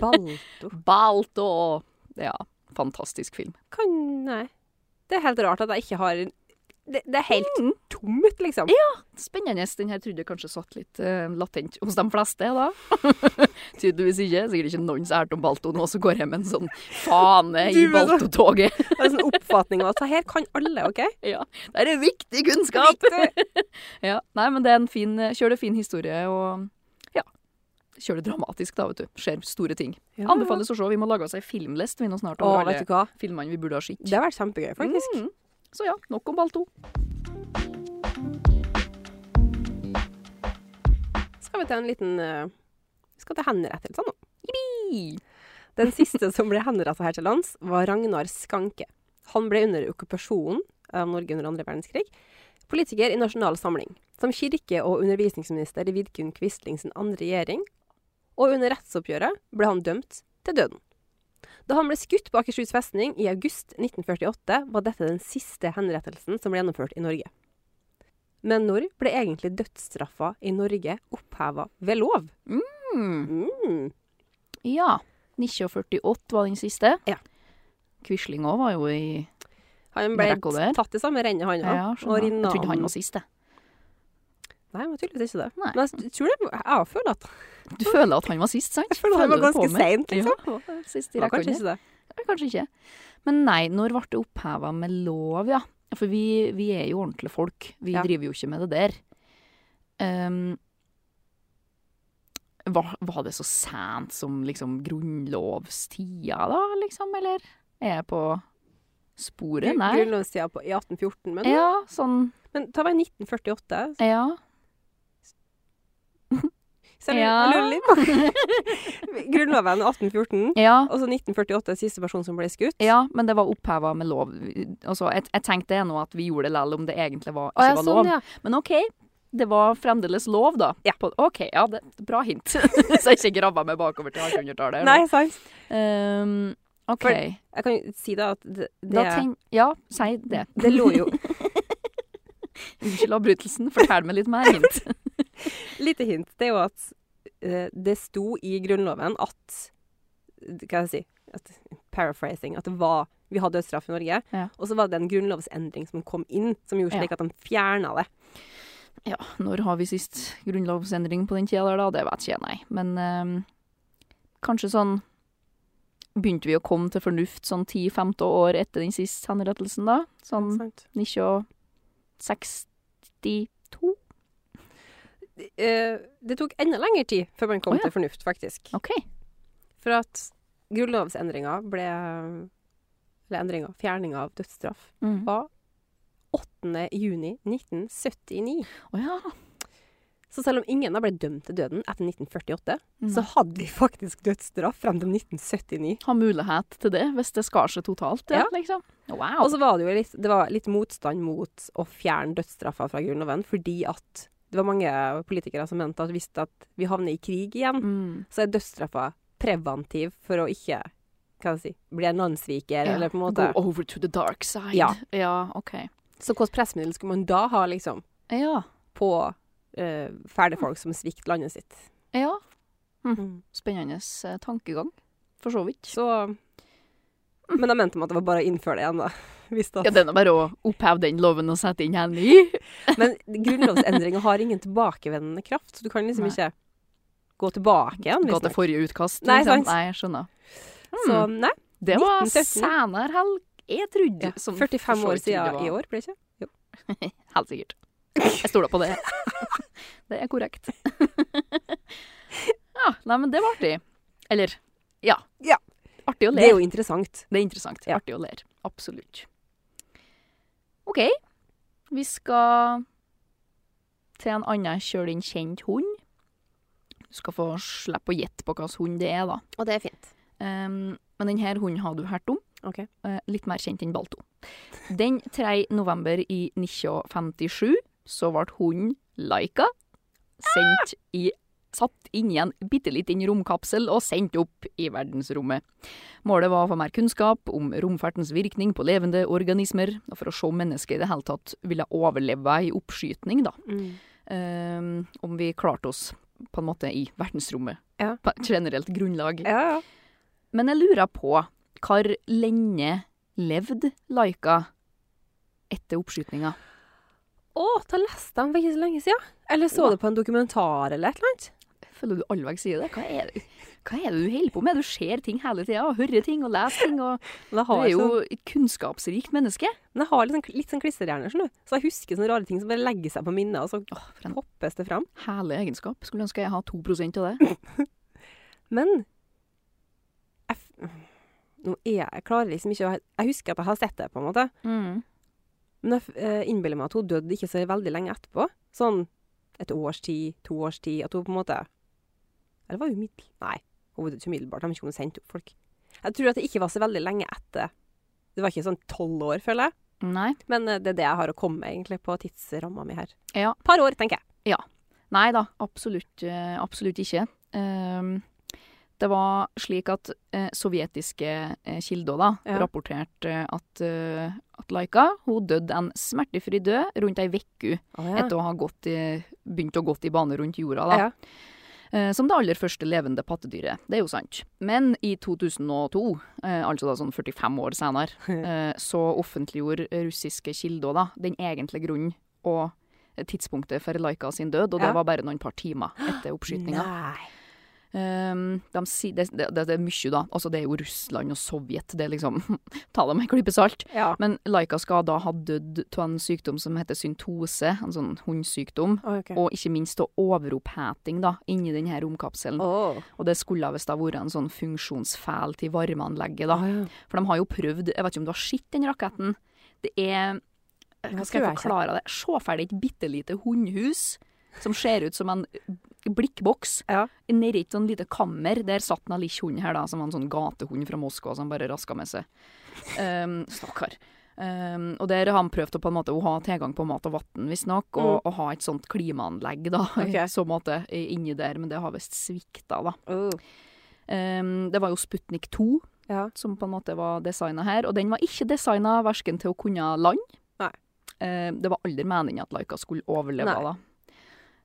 [SPEAKER 3] Balto.
[SPEAKER 2] Balt og Ja, fantastisk film.
[SPEAKER 3] Kan Nei. Det er helt rart at jeg ikke har Det, det er helt
[SPEAKER 2] Mm.
[SPEAKER 3] tomt, liksom.
[SPEAKER 2] Spennende. Den her trodde jeg kanskje satt litt eh, latent hos de fleste, da. Tydeligvis ikke. Sikkert ikke noen som har hørt om Balto nå, som går hjem med en sånn fane i
[SPEAKER 3] Du, men så-
[SPEAKER 2] Balto-toget.
[SPEAKER 3] Det er en sånn oppfatning av at det her kan alle, OK?
[SPEAKER 2] ja. Det er viktig kunnskap!
[SPEAKER 3] Riktig.
[SPEAKER 2] ja. Nei, men det er en fin Kjør det fin historie, og ja. Kjør det dramatisk, da, vet du. Skjer store ting.
[SPEAKER 3] Ja.
[SPEAKER 2] Anbefales å se. Vi må lage oss ei filmlist vi nå snart
[SPEAKER 3] Å,
[SPEAKER 2] over
[SPEAKER 3] vet
[SPEAKER 2] alle
[SPEAKER 3] du hva?
[SPEAKER 2] filmene vi burde ha sett.
[SPEAKER 3] Det har vært kjempegøy, faktisk.
[SPEAKER 2] Mm. Så ja, nok om Balto.
[SPEAKER 3] Skal vi til en liten eh, Vi skal til henrettelser nå.
[SPEAKER 2] Hi.
[SPEAKER 3] Den siste som ble henretta her til lands, var Ragnar Skanke. Han ble under okkupasjonen av Norge under andre verdenskrig politiker i Nasjonal Samling, som kirke- og undervisningsminister i Vidkun Quisling sin andre regjering, og under rettsoppgjøret ble han dømt til døden. Da han ble skutt på Akershus festning i august 1948, var dette den siste henrettelsen som ble gjennomført i Norge. Men når ble egentlig dødsstraffa i Norge oppheva ved lov?
[SPEAKER 2] Hmm.
[SPEAKER 3] Mm.
[SPEAKER 2] Ja. 1948 var den siste.
[SPEAKER 3] Ja.
[SPEAKER 2] Quisling òg var jo i
[SPEAKER 3] Han ble
[SPEAKER 2] Rekk over.
[SPEAKER 3] tatt i samme rennet, han
[SPEAKER 2] Ja,
[SPEAKER 3] òg.
[SPEAKER 2] skjønner. Jeg trodde han var siste.
[SPEAKER 3] Nei, han var tydeligvis ikke det.
[SPEAKER 2] Nei.
[SPEAKER 3] Men jeg tror det, jeg føler at
[SPEAKER 2] Du føler at han var sist, sant?
[SPEAKER 3] jeg føler han
[SPEAKER 2] Føler
[SPEAKER 3] var
[SPEAKER 2] du
[SPEAKER 3] ganske
[SPEAKER 2] på meg?
[SPEAKER 3] seint, liksom.
[SPEAKER 2] Ja, sist i
[SPEAKER 3] Det var kanskje
[SPEAKER 2] rekorden.
[SPEAKER 3] ikke det.
[SPEAKER 2] Eller Kanskje ikke. Men nei, når ble det oppheva med lov, ja? For vi, vi er jo ordentlige folk. Vi
[SPEAKER 3] Ja.
[SPEAKER 2] driver jo ikke med det der. Ehm, var, var det så sent som liksom grunnlovstida, da, liksom? Eller er jeg på sporet?
[SPEAKER 3] Gru-
[SPEAKER 2] Nei.
[SPEAKER 3] Grunnlovstida på- i 1814, men,
[SPEAKER 2] Ja, sånn
[SPEAKER 3] men ta meg 1948.
[SPEAKER 2] Ja.
[SPEAKER 3] Så jeg
[SPEAKER 2] Ja.
[SPEAKER 3] lurer- jeg lurer litt på Grunnloven 1814,
[SPEAKER 2] Ja,
[SPEAKER 3] og så 1948 siste person som ble skutt.
[SPEAKER 2] ja men det var oppheva med lov. Altså, jeg, jeg tenkte det nå at vi gjorde det lell om det egentlig var, ikke
[SPEAKER 3] Å, ja,
[SPEAKER 2] var
[SPEAKER 3] sånn,
[SPEAKER 2] lov.
[SPEAKER 3] ja.
[SPEAKER 2] Men OK, det var fremdeles lov, da.
[SPEAKER 3] Ja.
[SPEAKER 2] På, OK, ja, det, bra hint. Så jeg ikke grabba meg bakover til 1800-tallet.
[SPEAKER 3] Nei, sant.
[SPEAKER 2] Ehm, OK.
[SPEAKER 3] For- Jeg kan jo si da at det,
[SPEAKER 2] da
[SPEAKER 3] det,
[SPEAKER 2] tenk, ja, si det.
[SPEAKER 3] det lå jo
[SPEAKER 2] Unnskyld avbrytelsen, fortell meg litt mer hint.
[SPEAKER 3] Lite hint. Det er jo at eh, det sto i Grunnloven at Hva skal jeg si at, Paraphrasing. At det var Vi har dødsstraff i Norge.
[SPEAKER 2] Ja.
[SPEAKER 3] Og så var det en grunnlovsendring som kom inn, som gjorde slik at de fjerna det.
[SPEAKER 2] Ja, når har vi sist grunnlovsendring på den tida der, da? Det vet ikke jeg, nei. Men ehm, kanskje sånn Begynte vi å komme til fornuft sånn 10-15 år etter den siste henrettelsen, da? Sånn
[SPEAKER 3] Sant.
[SPEAKER 2] 1962?
[SPEAKER 3] Eh, det tok enda lengre tid før man kom
[SPEAKER 2] Å, ja.
[SPEAKER 3] til fornuft, faktisk.
[SPEAKER 2] OK.
[SPEAKER 3] For at grunnlovsendringa ble Eller endringa, fjerninga av dødsstraff,
[SPEAKER 2] Mm.
[SPEAKER 3] var 8. juni 1979.
[SPEAKER 2] Å ja.
[SPEAKER 3] Så selv om ingen da ble dømt til døden etter 1948,
[SPEAKER 2] Mm.
[SPEAKER 3] så hadde vi faktisk dødsstraff frem til 1979.
[SPEAKER 2] ha mulighet til det, hvis det skar seg totalt. Ja,
[SPEAKER 3] Ja.
[SPEAKER 2] liksom. Wow.
[SPEAKER 3] Og så var det jo litt, det var litt motstand mot å fjerne dødsstraffa fra Grunnloven, fordi at det var mange politikere som mente at hvis at vi havner i krig igjen,
[SPEAKER 2] mm.
[SPEAKER 3] så er dødsstraffa preventiv for å ikke hva skal jeg si, bli en landssviker,
[SPEAKER 2] Ja,
[SPEAKER 3] eller på en måte
[SPEAKER 2] Go over to the dark side.
[SPEAKER 3] Ja.
[SPEAKER 2] ja OK.
[SPEAKER 3] Så hvilket pressmiddel skulle man da ha liksom,
[SPEAKER 2] Ja.
[SPEAKER 3] på eh,
[SPEAKER 2] Mm.
[SPEAKER 3] fæle folk som svikter landet sitt?
[SPEAKER 2] ja. Spennende eh, tankegang, for så vidt.
[SPEAKER 3] Så Men da mente man at det var bare å innføre det igjen, da. Hvis da.
[SPEAKER 2] Ja, det er nå bare å oppheve den loven og sette inn en ny.
[SPEAKER 3] Men grunnlovsendringer har ingen tilbakevendende kraft, så du kan liksom
[SPEAKER 2] Nei.
[SPEAKER 3] ikke gå tilbake igjen.
[SPEAKER 2] Gå
[SPEAKER 3] hvis
[SPEAKER 2] til forrige utkast. liksom?
[SPEAKER 3] Nei, sant.
[SPEAKER 2] Nei, jeg skjønner. Mm.
[SPEAKER 3] nok. Så nei,
[SPEAKER 2] Det var
[SPEAKER 3] 1917.
[SPEAKER 2] senere helg. Jeg trodde
[SPEAKER 3] Mm. ja,
[SPEAKER 2] som
[SPEAKER 3] 45
[SPEAKER 2] for så
[SPEAKER 3] år
[SPEAKER 2] vidt trodde
[SPEAKER 3] siden
[SPEAKER 2] var-
[SPEAKER 3] i år, ble det ikke?
[SPEAKER 2] Helt sikkert. Jeg stoler på det. Det er korrekt. Ja, nei, men det var artig. Eller, ja.
[SPEAKER 3] Ja.
[SPEAKER 2] Artig å le.
[SPEAKER 3] Det er jo interessant.
[SPEAKER 2] Det er interessant.
[SPEAKER 3] Ja.
[SPEAKER 2] Artig å lære. Absolutt. OK. Vi skal til en annen kjøl inn kjent hund. Du skal få slippe å gjette på hvilken hund det er, da.
[SPEAKER 3] Og det er fint.
[SPEAKER 2] Ehm, men denne hunden har du hørt om.
[SPEAKER 3] Ok.
[SPEAKER 2] Eh, litt mer kjent enn Balto. Den 3. november i 1957 så ble hunden Laika sendt i Satt inni en bitte liten romkapsel og sendt opp i verdensrommet. Målet var å få mer kunnskap om romfertens virkning på levende organismer, og for å se om mennesket i det hele tatt ville overleve ei oppskytning, da.
[SPEAKER 3] Mm.
[SPEAKER 2] Ehm, om vi klarte oss på en måte i verdensrommet.
[SPEAKER 3] Ja.
[SPEAKER 2] På et generelt grunnlag.
[SPEAKER 3] Ja, ja.
[SPEAKER 2] Men jeg lurer på hvor lenge levde Laika etter oppskytninga?
[SPEAKER 3] Å, da leste jeg den for ikke så lenge siden. Eller så
[SPEAKER 2] Å.
[SPEAKER 3] det på en dokumentar eller et eller annet.
[SPEAKER 2] Jeg føler du allveg sier det. Hva er, det- hva er det du holder på med? Du ser ting hele tida, og hører ting og leser ting. Og
[SPEAKER 3] Men jeg
[SPEAKER 2] du
[SPEAKER 3] har,
[SPEAKER 2] er
[SPEAKER 3] sånn,
[SPEAKER 2] jo et kunnskapsrikt menneske.
[SPEAKER 3] men jeg har litt sånn, litt sånn klisterhjerne, skjønner du. Så jeg husker sånne rare ting som bare legger seg på minnet, og så
[SPEAKER 2] Åh, for en
[SPEAKER 3] poppes det fram.
[SPEAKER 2] herlig egenskap. Skulle ønske jeg hadde 2 av det.
[SPEAKER 3] Men jeg, f- nå er jeg, jeg klarer liksom ikke å Jeg husker at jeg har sett det, på en måte.
[SPEAKER 2] Mm.
[SPEAKER 3] Men jeg f- eh, innbiller meg at hun døde ikke så veldig lenge etterpå. Sånn et års tid, to års tid. At hun på en måte Eller var hun middel... Nei, hun døde ikke umiddelbart. De har ikke kunnet sende opp folk. Jeg tror at det ikke var så veldig lenge etter. Det var ikke sånn tolv år, føler jeg.
[SPEAKER 2] Nei.
[SPEAKER 3] Men eh, det er det jeg har å komme med, egentlig, på tidsramma mi her.
[SPEAKER 2] Ja.
[SPEAKER 3] Par år, tenker jeg.
[SPEAKER 2] Nei da, absolutt, eh, absolutt ikke. Ehm, Det var slik at eh, sovjetiske eh, kilder da,
[SPEAKER 3] Ja.
[SPEAKER 2] rapporterte eh, at, eh, at Laika hun døde en smertefri død rundt ei uke etter å ha gått i, begynt å gått i bane rundt jorda. da.
[SPEAKER 3] Ja.
[SPEAKER 2] Eh, som det aller første levende pattedyret. Det er jo sant. Men i 2002, eh, altså da sånn 45 år senere, eh, så offentliggjorde russiske kilder da den egentlige grunnen og tidspunktet for Laika sin død, og det
[SPEAKER 3] Ja.
[SPEAKER 2] var bare noen par timer etter oppskytinga.
[SPEAKER 3] Nei.
[SPEAKER 2] Um, de sier, det, det, det er mye, da. Altså, det er jo Russland og Sovjet. Det er liksom Ta det med en klype salt.
[SPEAKER 3] Ja.
[SPEAKER 2] Men Laika skal da ha dødd av en sykdom som heter syntose, en sånn hundsykdom.
[SPEAKER 3] Ok.
[SPEAKER 2] Og ikke minst av overoppheting da, inni denne romkapselen.
[SPEAKER 3] Åh.
[SPEAKER 2] Og det skulle visst ha vært en sånn funksjonsfeil til varmeanlegget, da.
[SPEAKER 3] ja.
[SPEAKER 2] For de har jo prøvd Jeg vet ikke om du har sett den raketten? Det er Hva skal
[SPEAKER 3] tror
[SPEAKER 2] jeg
[SPEAKER 3] jeg ikke.
[SPEAKER 2] forklare det? Se for deg et bitte lite hundhus som ser ut som en blikkboks.
[SPEAKER 3] Ja.
[SPEAKER 2] Nedi et sånn lite kammer, der satt en lille hund her, da, som var en sånn gatehund fra Moskva som bare raska med seg. Um, Stakkar. Um, og der har han prøvd å på en måte å ha tilgang på mat og vann, visstnok, og, og ha et sånt klimaanlegg da,
[SPEAKER 3] Ok.
[SPEAKER 2] i så måte, i- inni der, men det har visst svikta, da.
[SPEAKER 3] Åh.
[SPEAKER 2] Um, det var jo Sputnik 2
[SPEAKER 3] Ja.
[SPEAKER 2] som på en måte var designa her, og den var ikke designa verken til å kunne lande.
[SPEAKER 3] Nei.
[SPEAKER 2] Eh, det var aldri meninga at Laika skulle overleve
[SPEAKER 3] Nei.
[SPEAKER 2] da.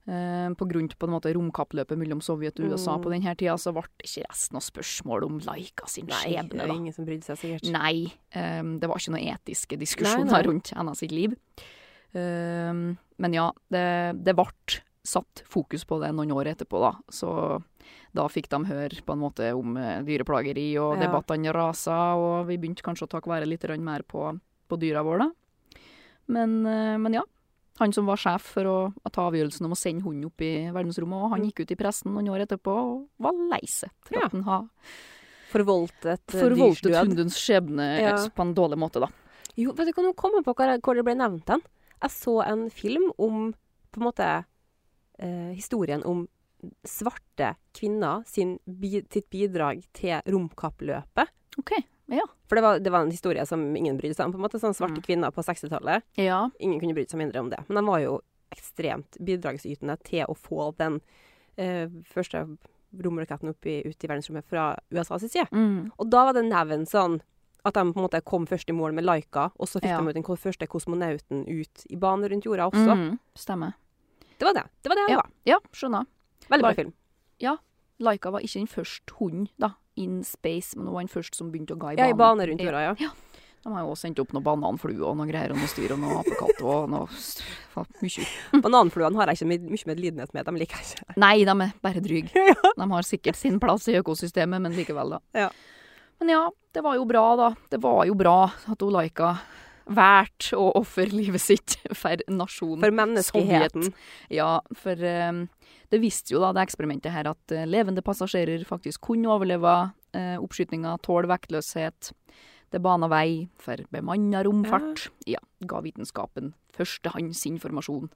[SPEAKER 2] Eh, på grunn til på en måte romkappløpet mellom Sovjet og USA
[SPEAKER 3] Mm.
[SPEAKER 2] på denne tida, så ble ikke resten av spørsmål om Laika sin
[SPEAKER 3] Nei, det
[SPEAKER 2] skjebne,
[SPEAKER 3] er
[SPEAKER 2] da.
[SPEAKER 3] ingen som brydde seg sikkert.
[SPEAKER 2] Nei. ehm, det var ikke noen etiske diskusjoner
[SPEAKER 3] Nei, nei.
[SPEAKER 2] rundt hennes sitt liv. Ehm, men ja, det, det ble satt fokus på det noen år etterpå, da. Så da fikk de høre på en måte om eh, dyreplageri, og
[SPEAKER 3] Ja.
[SPEAKER 2] debattene rasa, og vi begynte kanskje å takke være litt grann mer på, på dyra våre, da. Men, eh, men ja. Han som var sjef for å, å ta avgjørelsen om å sende hunden opp i verdensrommet, og han gikk ut i pressen noen år etterpå og var lei seg for
[SPEAKER 3] Mm. Ja.
[SPEAKER 2] at han har
[SPEAKER 3] Forvoldtet eh, dyrs
[SPEAKER 2] forvoltet
[SPEAKER 3] død.
[SPEAKER 2] hundens skjebne
[SPEAKER 3] Ja.
[SPEAKER 2] eh, på en dårlig måte, da.
[SPEAKER 3] Jo, vet du hva, nå kommer jeg på hva- hvor det ble nevnt den. Jeg så en film om, på en måte, eh, historien om svarte kvinner sin, bi, sitt bidrag til romkappløpet.
[SPEAKER 2] OK. Ja.
[SPEAKER 3] For det var, det var en historie som ingen brydde seg om, på en måte. Sånn
[SPEAKER 2] Mm.
[SPEAKER 3] svarte kvinner på 60-tallet.
[SPEAKER 2] Ja.
[SPEAKER 3] Ingen kunne brydd seg mindre om det. Men de var jo ekstremt bidragsytende til å få den eh, første romraketten opp i, ut i verdensrommet fra USA sin side.
[SPEAKER 2] Mm.
[SPEAKER 3] Og da var det nevnt sånn at de på en måte kom først i mål med Laika, og så fikk
[SPEAKER 2] Ja.
[SPEAKER 3] de ut den ko- første kosmonauten ut i bane rundt jorda også.
[SPEAKER 2] Mm. Stemmer.
[SPEAKER 3] Det var det. Det var det. det var.
[SPEAKER 2] Ja, skjønner.
[SPEAKER 3] Veldig
[SPEAKER 2] Lar-
[SPEAKER 3] bra film.
[SPEAKER 2] Laika var ikke den første hunden da, in space, men hun var den første som begynte å ga i banen.
[SPEAKER 3] Ja, i bane rundt jorda, ja.
[SPEAKER 2] De har jo også sendt opp noen bananfluer og noen greier, og noen styr og noen apekatter og noe st- faen, mye.
[SPEAKER 3] Bananfluene har jeg ikke med, mye medlidenhet med, de liker jeg ikke.
[SPEAKER 2] Nei, de er bare dryge. De har sikkert sin plass i økosystemet, men likevel, da.
[SPEAKER 3] Ja.
[SPEAKER 2] Men ja, det var jo bra, da. Det var jo bra at hun Laika valgte å ofre livet sitt for nasjonen.
[SPEAKER 3] For menneskeheten.
[SPEAKER 2] Ja, for eh, det viste jo da det eksperimentet her at eh, levende passasjerer faktisk kunne overleve uh, oppskytinga, tåle vektløshet. Det bana vei for bemanna romfart. Ja. ga vitenskapen førstehåndsinformasjon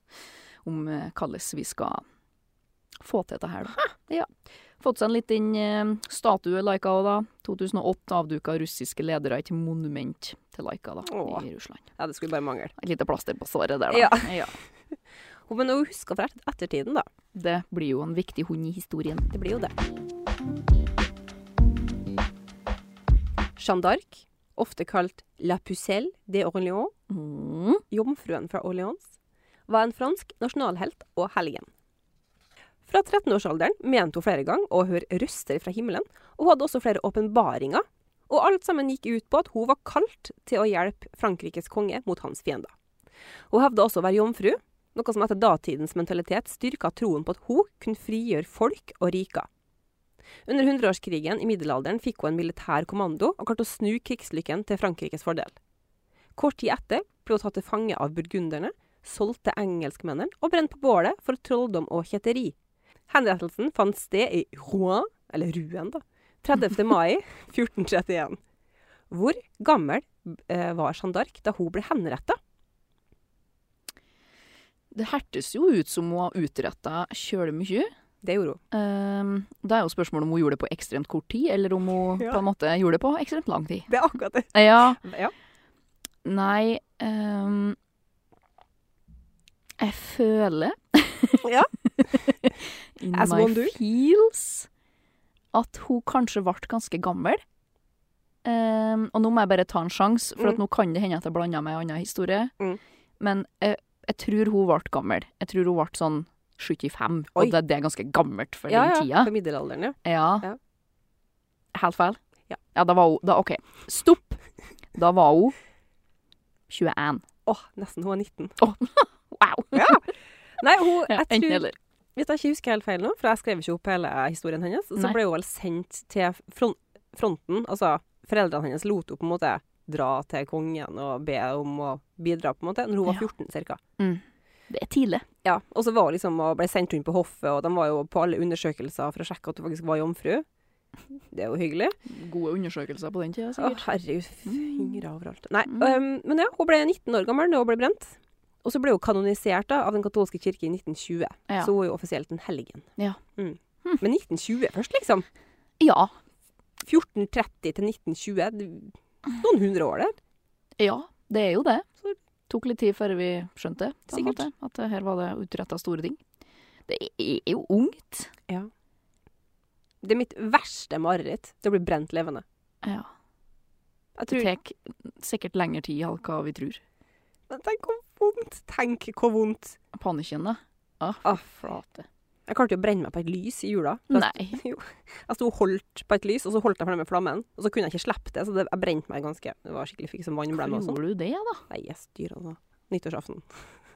[SPEAKER 2] om eh, hvordan vi skal få til dette her, da. Ja. Fått seg en liten eh, statue Laika òg, da. 2008 avduka russiske ledere et monument til Laika da,
[SPEAKER 3] Åh.
[SPEAKER 2] i Russland.
[SPEAKER 3] Ja, det skulle bare mangle.
[SPEAKER 2] Et lite plaster på såret der, da.
[SPEAKER 3] Ja.
[SPEAKER 2] ja.
[SPEAKER 3] Hun- Men hun husker fra et- ettertiden, da.
[SPEAKER 2] Det blir jo en viktig hund i historien.
[SPEAKER 3] Det blir jo det. Jeanne d'Arc, ofte kalt La Pucelle de Orléans,
[SPEAKER 2] Mm.
[SPEAKER 3] Jomfruen fra Orleans, var en fransk nasjonalhelt og helgen. Fra 13-årsalderen mente hun flere ganger å høre røster fra himmelen, og hun hadde også flere åpenbaringer, og alt sammen gikk ut på at hun var kalt til å hjelpe Frankrikes konge mot hans fiender. Hun hevda også å være jomfru, noe som etter datidens mentalitet styrka troen på at hun kunne frigjøre folk og riker. Under hundreårskrigen i middelalderen fikk hun en militær kommando og klarte å snu krigslykken til Frankrikes fordel. Kort tid etter ble hun tatt til fange av burgunderne, solgt til engelskmennene og brent på bålet for trolldom og kjeteri. Henrettelsen fant sted i Rouen, eller Rouen da, 30. mai 1431. Hvor gammel eh, var Jeanne d'Arc da hun ble henretta?
[SPEAKER 2] Det hertes jo ut som hun har utretta kjølig mye.
[SPEAKER 3] Det gjorde hun.
[SPEAKER 2] Ehm, da er jo spørsmålet om hun gjorde det på ekstremt kort tid, eller om hun
[SPEAKER 3] Ja.
[SPEAKER 2] på en måte gjorde det på ekstremt lang tid.
[SPEAKER 3] Det er akkurat det.
[SPEAKER 2] Ja,
[SPEAKER 3] Ja.
[SPEAKER 2] nei ehm, Jeg føler
[SPEAKER 3] Ja.
[SPEAKER 2] In
[SPEAKER 3] As
[SPEAKER 2] my
[SPEAKER 3] one do.
[SPEAKER 2] feels at hun kanskje ble ganske gammel. Ehm, og nå må jeg bare ta en sjanse, for at nå kan det hende at jeg blander med en annen historie.
[SPEAKER 3] Mm.
[SPEAKER 2] Men eh, jeg tror hun ble gammel. Jeg tror hun ble sånn 75,
[SPEAKER 3] Oi.
[SPEAKER 2] og det, det er ganske gammelt for
[SPEAKER 3] ja,
[SPEAKER 2] den
[SPEAKER 3] ja.
[SPEAKER 2] tida.
[SPEAKER 3] For middelalderen, ja.
[SPEAKER 2] Ja.
[SPEAKER 3] Ja.
[SPEAKER 2] Helt feil?
[SPEAKER 3] Ja.
[SPEAKER 2] da var hun da, OK. Stopp! Da var hun 21.
[SPEAKER 3] Åh, nesten. Hun er 19.
[SPEAKER 2] Wow!
[SPEAKER 3] Ja. Nei, hun,
[SPEAKER 2] Ja,
[SPEAKER 3] jeg
[SPEAKER 2] Enten
[SPEAKER 3] tror
[SPEAKER 2] eller.
[SPEAKER 3] Hvis jeg ikke husker helt feil nå, for jeg skrev ikke opp hele historien hennes, så
[SPEAKER 2] Nei.
[SPEAKER 3] ble hun vel sendt til front, fronten. Altså, foreldrene hennes lot henne på en måte dra til kongen og be om å bidra, på en måte, når hun var
[SPEAKER 2] Ja.
[SPEAKER 3] 14 cirka.
[SPEAKER 2] Det er tidlig.
[SPEAKER 3] Ja, og så var hun liksom og ble sendt rundt på hoffet, og de var jo på alle undersøkelser for å sjekke at hun faktisk var jomfru. Det er jo hyggelig.
[SPEAKER 2] Gode undersøkelser på den tida,
[SPEAKER 3] Å,
[SPEAKER 2] sikkert.
[SPEAKER 3] herregud. Fingre overalt. Nei,
[SPEAKER 2] Mm.
[SPEAKER 3] øhm, men ja, hun ble 19 år gammel da hun ble brent. Og så ble hun kanonisert da, av den katolske kirke i 1920.
[SPEAKER 2] Ja.
[SPEAKER 3] Så hun er jo offisielt en helgen.
[SPEAKER 2] Ja.
[SPEAKER 3] Mm.
[SPEAKER 2] Hm.
[SPEAKER 3] Men 1920 først, liksom.
[SPEAKER 2] Ja.
[SPEAKER 3] 1430 til 1920. det- Noen hundre år der.
[SPEAKER 2] Ja, det er jo det.
[SPEAKER 3] Så-
[SPEAKER 2] tok litt tid før vi skjønte det, på en
[SPEAKER 3] Sikkert.
[SPEAKER 2] måte, at det her var det utretta store ting. Det er jo ungt.
[SPEAKER 3] Det er mitt verste mareritt. Det å bli brent levende.
[SPEAKER 2] Ja. Det
[SPEAKER 3] Jeg tror,
[SPEAKER 2] tar sikkert lengre tid enn hva vi tror.
[SPEAKER 3] Men tenk hvor vondt. Tenk hvor vondt.
[SPEAKER 2] Panikken, da.
[SPEAKER 3] Ah,
[SPEAKER 2] Flate.
[SPEAKER 3] jeg klarte jo å brenne meg på et lys i jula.
[SPEAKER 2] Nei.
[SPEAKER 3] Jeg sto og holdt på et lys, og så holdt jeg fremme flammen. Og så kunne jeg ikke slippe det, så det, jeg brente meg ganske. Det var skikkelig fikk som vannblemme og sånn.
[SPEAKER 2] Gjorde du det, da?
[SPEAKER 3] Nei, jeg styrer det. Nyttårsaften.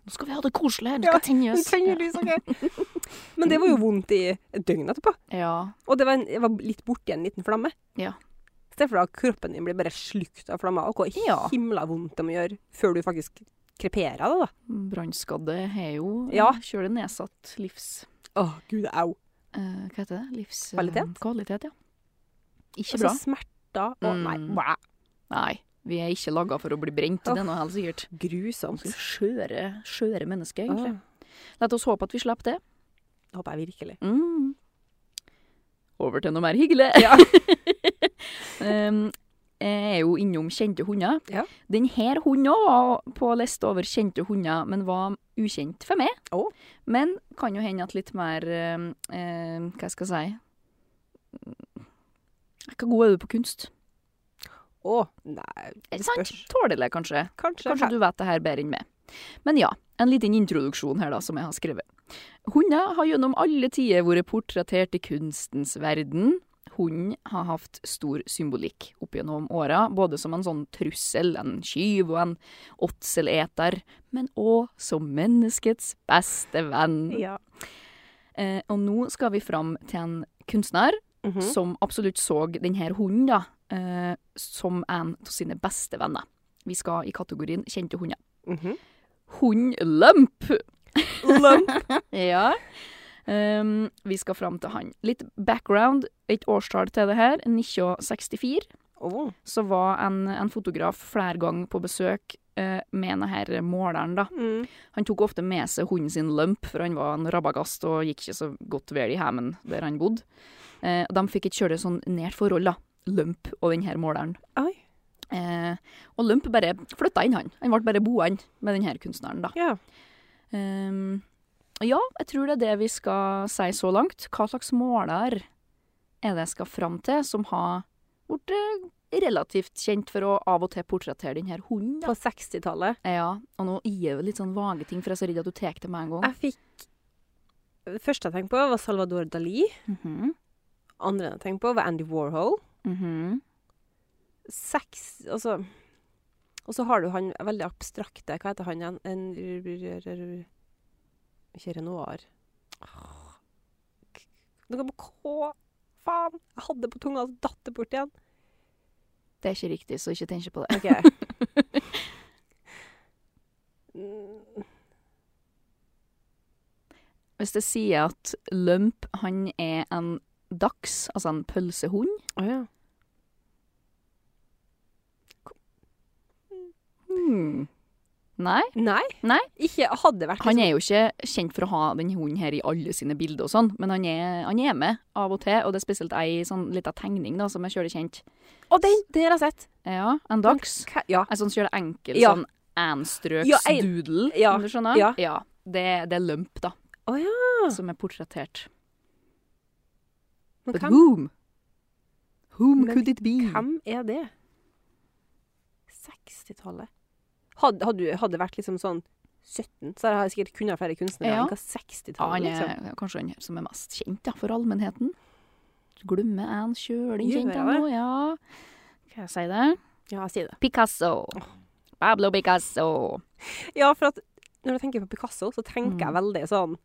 [SPEAKER 2] Nå skal vi ha det koselig her. Nå skal jeg tenne oss.
[SPEAKER 3] lys, OK? Men det var jo vondt i et døgn etterpå.
[SPEAKER 2] Ja.
[SPEAKER 3] Og det var, en, jeg var litt borti en liten flamme.
[SPEAKER 2] Ja.
[SPEAKER 3] I stedet for at kroppen din blir bare slukt av flammer, og hvor
[SPEAKER 2] Ja.
[SPEAKER 3] himla vondt det må gjøre før du faktisk kreperer av det, da.
[SPEAKER 2] Brannskadde har jo
[SPEAKER 3] Ja.
[SPEAKER 2] kjølig nedsatt livs...
[SPEAKER 3] Å, gud, au.
[SPEAKER 2] eh, hva heter det? Livs... eh,
[SPEAKER 3] Kvalitet?
[SPEAKER 2] Kvalitet, Altså ja. Ikke
[SPEAKER 3] Og
[SPEAKER 2] bra.
[SPEAKER 3] så smerter og Nei,
[SPEAKER 2] Mm.
[SPEAKER 3] bæ.
[SPEAKER 2] Nei. Vi er ikke laga for å bli brent, det er nå helt sikkert.
[SPEAKER 3] Grusomt.
[SPEAKER 2] Skjøre, skjøre mennesker, egentlig.
[SPEAKER 3] Åh,
[SPEAKER 2] La oss håpe at vi slipper det.
[SPEAKER 3] Det håper jeg virkelig.
[SPEAKER 2] Mm. Over til noe mer hyggelig.
[SPEAKER 3] Ja.
[SPEAKER 2] um, jeg er jo innom kjente hunder.
[SPEAKER 3] Ja.
[SPEAKER 2] Denne hunden også var på lista over kjente hunder, men var ukjent for meg.
[SPEAKER 3] Å.
[SPEAKER 2] Men kan jo hende at litt mer um, eh, Hva skal jeg si Hvor god er du på kunst?
[SPEAKER 3] Å, nei,
[SPEAKER 2] Er det sant?
[SPEAKER 3] spørs.
[SPEAKER 2] Tålelig, kanskje.
[SPEAKER 3] Kanskje.
[SPEAKER 2] Kanskje du vet det her bedre enn meg. Men ja, en liten introduksjon her da, som jeg har skrevet. Hunder har gjennom alle tider vært portrettert i kunstens verden. Hunden har hatt stor symbolikk opp gjennom åra, både som en sånn trussel, en skyv og en åtseleter, men òg som menneskets beste venn.
[SPEAKER 3] Ja.
[SPEAKER 2] Eh, og nå skal vi fram til en kunstner
[SPEAKER 3] Mhm.
[SPEAKER 2] som absolutt så denne hunden da, eh, som en av sine beste venner. Vi skal i kategorien kjente hunder.
[SPEAKER 3] Mhm.
[SPEAKER 2] Hund Lump!
[SPEAKER 3] Lump.
[SPEAKER 2] Ja. Ehm, vi skal fram til han. Litt background, et årstall til det her. 1964
[SPEAKER 3] Åh.
[SPEAKER 2] så var en, en fotograf flere ganger på besøk eh, med denne måleren. da.
[SPEAKER 3] Mm.
[SPEAKER 2] Han tok ofte med seg hunden sin Lump, for han var en rabagast og gikk ikke så godt vel i heimen der han bodde. Eh, de fikk et kjølig sånn nært forhold, da. Lump og den her måleren.
[SPEAKER 3] Oi.
[SPEAKER 2] Eh, og Lump bare flytta inn, han. Han ble bare boende med den her kunstneren, da.
[SPEAKER 3] Ja.
[SPEAKER 2] Ehm, ja, jeg tror det er det vi skal si så langt. Hva slags måler er det jeg skal fram til, som har blitt eh, relativt kjent for å av og til portrettere den her hunden? da?
[SPEAKER 3] På 60-tallet
[SPEAKER 2] Ja, og nå gir jeg jo litt sånn vage ting, for jeg er så redd at du tar det med en gang.
[SPEAKER 3] Jeg fikk Det første jeg tenkte på, var Salvador Dali.
[SPEAKER 2] Mhm,
[SPEAKER 3] Andre jeg tenkte på, var Andy Warhol.
[SPEAKER 2] mhm.
[SPEAKER 3] Seks Altså Og så har du han veldig abstrakte Hva heter han igjen? En r- r- r- r- Ikke Renoir. Åh. K- Noe med K. Faen! Jeg hadde det på tunga, så datt det bort igjen.
[SPEAKER 2] Det er ikke riktig, så ikke tenk på det.
[SPEAKER 3] OK. Mm,
[SPEAKER 2] Hvis jeg sier at Lump, han er en dachs, altså en pølsehund
[SPEAKER 3] Å ja.
[SPEAKER 2] hmm. Nei,
[SPEAKER 3] Nei.
[SPEAKER 2] Nei.
[SPEAKER 3] Ikke hadde det vært liksom.
[SPEAKER 2] han er jo ikke kjent for å ha den hunden her i alle sine bilder og sånn, men han er, han er med av og til, og det er spesielt ei sånn lita tegning da, som er kjølig kjent.
[SPEAKER 3] Å, den! Den har jeg sett.
[SPEAKER 2] Ja, en dachs.
[SPEAKER 3] Hva- Ja.
[SPEAKER 2] En sånn kjølig enkel
[SPEAKER 3] Ja.
[SPEAKER 2] sånn anstrøks
[SPEAKER 3] Ja, en-
[SPEAKER 2] doodle,
[SPEAKER 3] Ja,
[SPEAKER 2] om du skjønner?
[SPEAKER 3] ja.
[SPEAKER 2] det, det er Lump da,
[SPEAKER 3] Å ja.
[SPEAKER 2] som er portrettert.
[SPEAKER 3] Men
[SPEAKER 2] But
[SPEAKER 3] hvem
[SPEAKER 2] boom! Whom
[SPEAKER 3] Men
[SPEAKER 2] could it be?
[SPEAKER 3] Hvem er det? 60-tallet. Hadde, hadde, du- hadde det vært liksom sånn 17, så hadde jeg sikkert kunnet flere kunstnere
[SPEAKER 2] Ja.
[SPEAKER 3] enn hva
[SPEAKER 2] Ja, han
[SPEAKER 3] 60-tallet liksom.
[SPEAKER 2] er kanskje han som er mest kjent da, for allmennheten. Du glemmer en kjøling
[SPEAKER 3] Gjør
[SPEAKER 2] kjent
[SPEAKER 3] jeg
[SPEAKER 2] han nå, ja. Hva sier jeg det?
[SPEAKER 3] Ja, si det.
[SPEAKER 2] Picasso. Pablo Picasso.
[SPEAKER 3] Ja, for at når jeg tenker på Picasso, så tenker jeg
[SPEAKER 2] Mm.
[SPEAKER 3] veldig sånn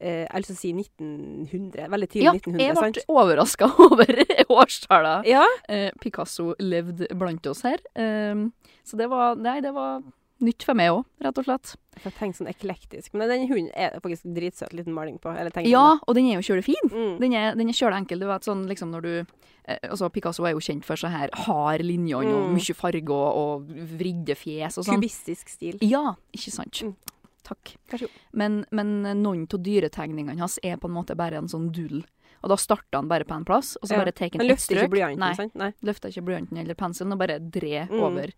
[SPEAKER 3] eh, Jeg har lyst til å si 1900. Veldig tidlig
[SPEAKER 2] Ja, jeg
[SPEAKER 3] 1900, sant?
[SPEAKER 2] ble overraska over årstallet.
[SPEAKER 3] Ja.
[SPEAKER 2] Eh, Picasso levde blant oss her. Eh, så det var Nei, det var nytt for meg òg, rett og slett.
[SPEAKER 3] For jeg tenker sånn eklektisk. Men den hunden er faktisk dritsøt liten maling på. Eller tenker
[SPEAKER 2] Ja, og den er jo kjølig fin.
[SPEAKER 3] jeg. Mm.
[SPEAKER 2] Den er, den er kjølig enkel. Du vet, sånn, liksom, når du, eh, altså, Picasso er jo kjent for så her hard linjene og
[SPEAKER 3] Mm.
[SPEAKER 2] mye farger og, og vridde fjes og sånn.
[SPEAKER 3] Kubistisk stil.
[SPEAKER 2] Ja, ikke sant.
[SPEAKER 3] Mm.
[SPEAKER 2] Takk.
[SPEAKER 3] Vær så god.
[SPEAKER 2] Men, men noen av dyretegningene hans er på en måte bare en sånn doodle. Og da starter han bare på en plass, og så
[SPEAKER 3] Ja.
[SPEAKER 2] bare tar han
[SPEAKER 3] Han
[SPEAKER 2] ett
[SPEAKER 3] løfter ikke
[SPEAKER 2] strøk.
[SPEAKER 3] blyanten,
[SPEAKER 2] Nei,
[SPEAKER 3] sant? Nei.
[SPEAKER 2] løfter ikke blyanten eller penselen, og bare drer
[SPEAKER 3] Mm.
[SPEAKER 2] over.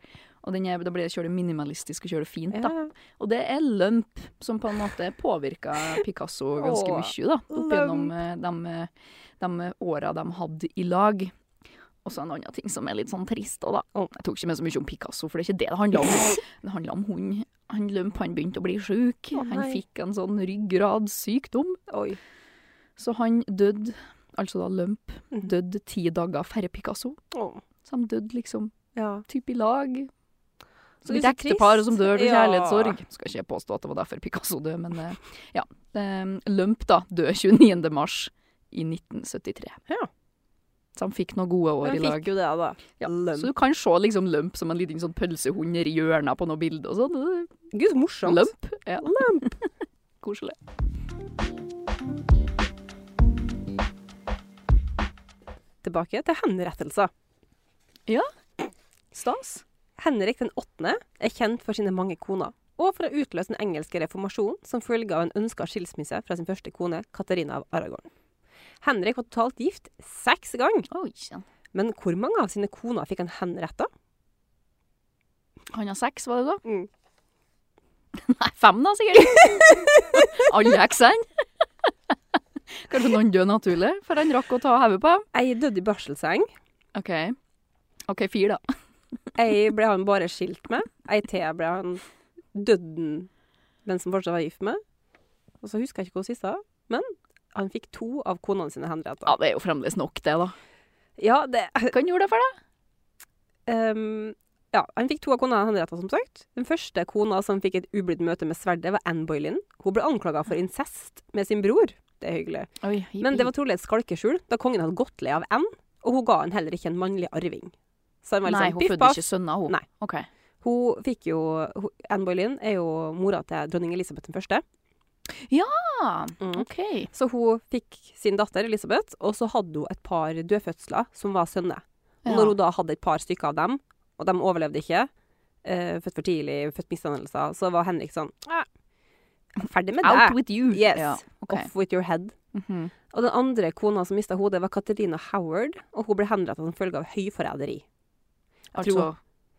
[SPEAKER 2] Og den er, da blir det kjølig minimalistisk og kjølig fint, da.
[SPEAKER 3] Ja.
[SPEAKER 2] Og det er lømp som på en måte påvirka Picasso ganske
[SPEAKER 3] Åh,
[SPEAKER 2] mye, da. Opp gjennom eh, de, de åra de hadde i lag. Og så en annen ting som er litt sånn trist òg, da.
[SPEAKER 3] Åh.
[SPEAKER 2] Jeg tok ikke med så mye om Picasso, for det er ikke det det handler om. Det handler om hun. Han Lømp han begynte å bli sjuk.
[SPEAKER 3] Å,
[SPEAKER 2] han
[SPEAKER 3] nei.
[SPEAKER 2] fikk en sånn ryggradssykdom.
[SPEAKER 3] Oi.
[SPEAKER 2] Så han døde, altså da Lømp,
[SPEAKER 3] Mhm.
[SPEAKER 2] døde ti dager før Picasso.
[SPEAKER 3] Åh.
[SPEAKER 2] Så han døde liksom
[SPEAKER 3] Ja.
[SPEAKER 2] typ i lag.
[SPEAKER 3] Så
[SPEAKER 2] Som
[SPEAKER 3] det
[SPEAKER 2] et
[SPEAKER 3] er så
[SPEAKER 2] ektepar
[SPEAKER 3] trist.
[SPEAKER 2] som dør til
[SPEAKER 3] Ja.
[SPEAKER 2] kjærlighetssorg. Skal ikke jeg påstå at det var derfor Picasso døde, men eh, ja. Eh, Lømp, da, døde 29. mars i 1973.
[SPEAKER 3] Ja.
[SPEAKER 2] Så han fikk noen gode år
[SPEAKER 3] Men
[SPEAKER 2] i lag.
[SPEAKER 3] fikk jo det, da.
[SPEAKER 2] Ja.
[SPEAKER 3] Lønn.
[SPEAKER 2] Så du kan se liksom Lømp som en liten sånn pølsehund nedi hjørnet på noe bilde og sånn. Det
[SPEAKER 3] Gud, så
[SPEAKER 2] er
[SPEAKER 3] morsomt.
[SPEAKER 2] Lømp. Ja. Koselig.
[SPEAKER 3] Tilbake til henrettelser.
[SPEAKER 2] Ja.
[SPEAKER 3] Stas. Henrik den åttende er kjent for sine mange koner, og for å utløse den engelske reformasjonen som følge av en ønska skilsmisse fra sin første kone, Katarina av Aragorn. Henrik var totalt gift seks ganger,
[SPEAKER 2] Oi, sann.
[SPEAKER 3] men hvor mange av sine koner fikk han henretta?
[SPEAKER 2] Han har seks, var det da?
[SPEAKER 3] Mm.
[SPEAKER 2] Nei, fem da, sikkert. Alle heksene. Kanskje noen døde naturlig, for han rakk å ta hodet på dem.
[SPEAKER 3] Ei døde i barselseng,
[SPEAKER 2] OK. OK, fire, da.
[SPEAKER 3] ei ble han bare skilt med, ei til ble han døden mens han fortsatt var gift med. Og så husker jeg ikke hva siste var, men han fikk to av konene sine henretta.
[SPEAKER 2] Ja, det er jo fremdeles nok, det, da.
[SPEAKER 3] Ja, det
[SPEAKER 2] Hva han gjorde det for deg?
[SPEAKER 3] Ehm, ja, han fikk to av konene henrettet, som sagt. Den første kona som fikk et ublidt møte med sverdet, var Anne Boylin. Hun ble anklaga for incest med sin bror. Det er hyggelig.
[SPEAKER 2] Oi,
[SPEAKER 3] Men det var trolig et skalkeskjul, da kongen hadde gått lei av Anne, og hun ga han heller ikke en mannlig arving. Så han var
[SPEAKER 2] Nei,
[SPEAKER 3] liksom
[SPEAKER 2] hun
[SPEAKER 3] piff
[SPEAKER 2] fødte
[SPEAKER 3] paff.
[SPEAKER 2] ikke sønner, hun.
[SPEAKER 3] Nei.
[SPEAKER 2] OK.
[SPEAKER 3] Hun fikk jo hun- Anne Boylin er jo mora til dronning Elisabeth den første.
[SPEAKER 2] Ah,
[SPEAKER 3] Mm.
[SPEAKER 2] OK.
[SPEAKER 3] Så hun fikk sin datter Elisabeth, og så hadde hun et par dødfødsler som var sønner. Og
[SPEAKER 2] Ja.
[SPEAKER 3] når hun da hadde et par stykker av dem, og de overlevde ikke, eh, født for tidlig, født misdannelser, så var Henrik sånn «Ah, Ferdig med
[SPEAKER 2] Out
[SPEAKER 3] det.
[SPEAKER 2] with you.
[SPEAKER 3] Yes.
[SPEAKER 2] Ja, OK.
[SPEAKER 3] Off with your head.
[SPEAKER 2] Mhm.
[SPEAKER 3] Og den andre kona som mista hodet, var Katarina Howard, og hun ble henrettet som følge av høyforræderi. Jeg
[SPEAKER 2] Altså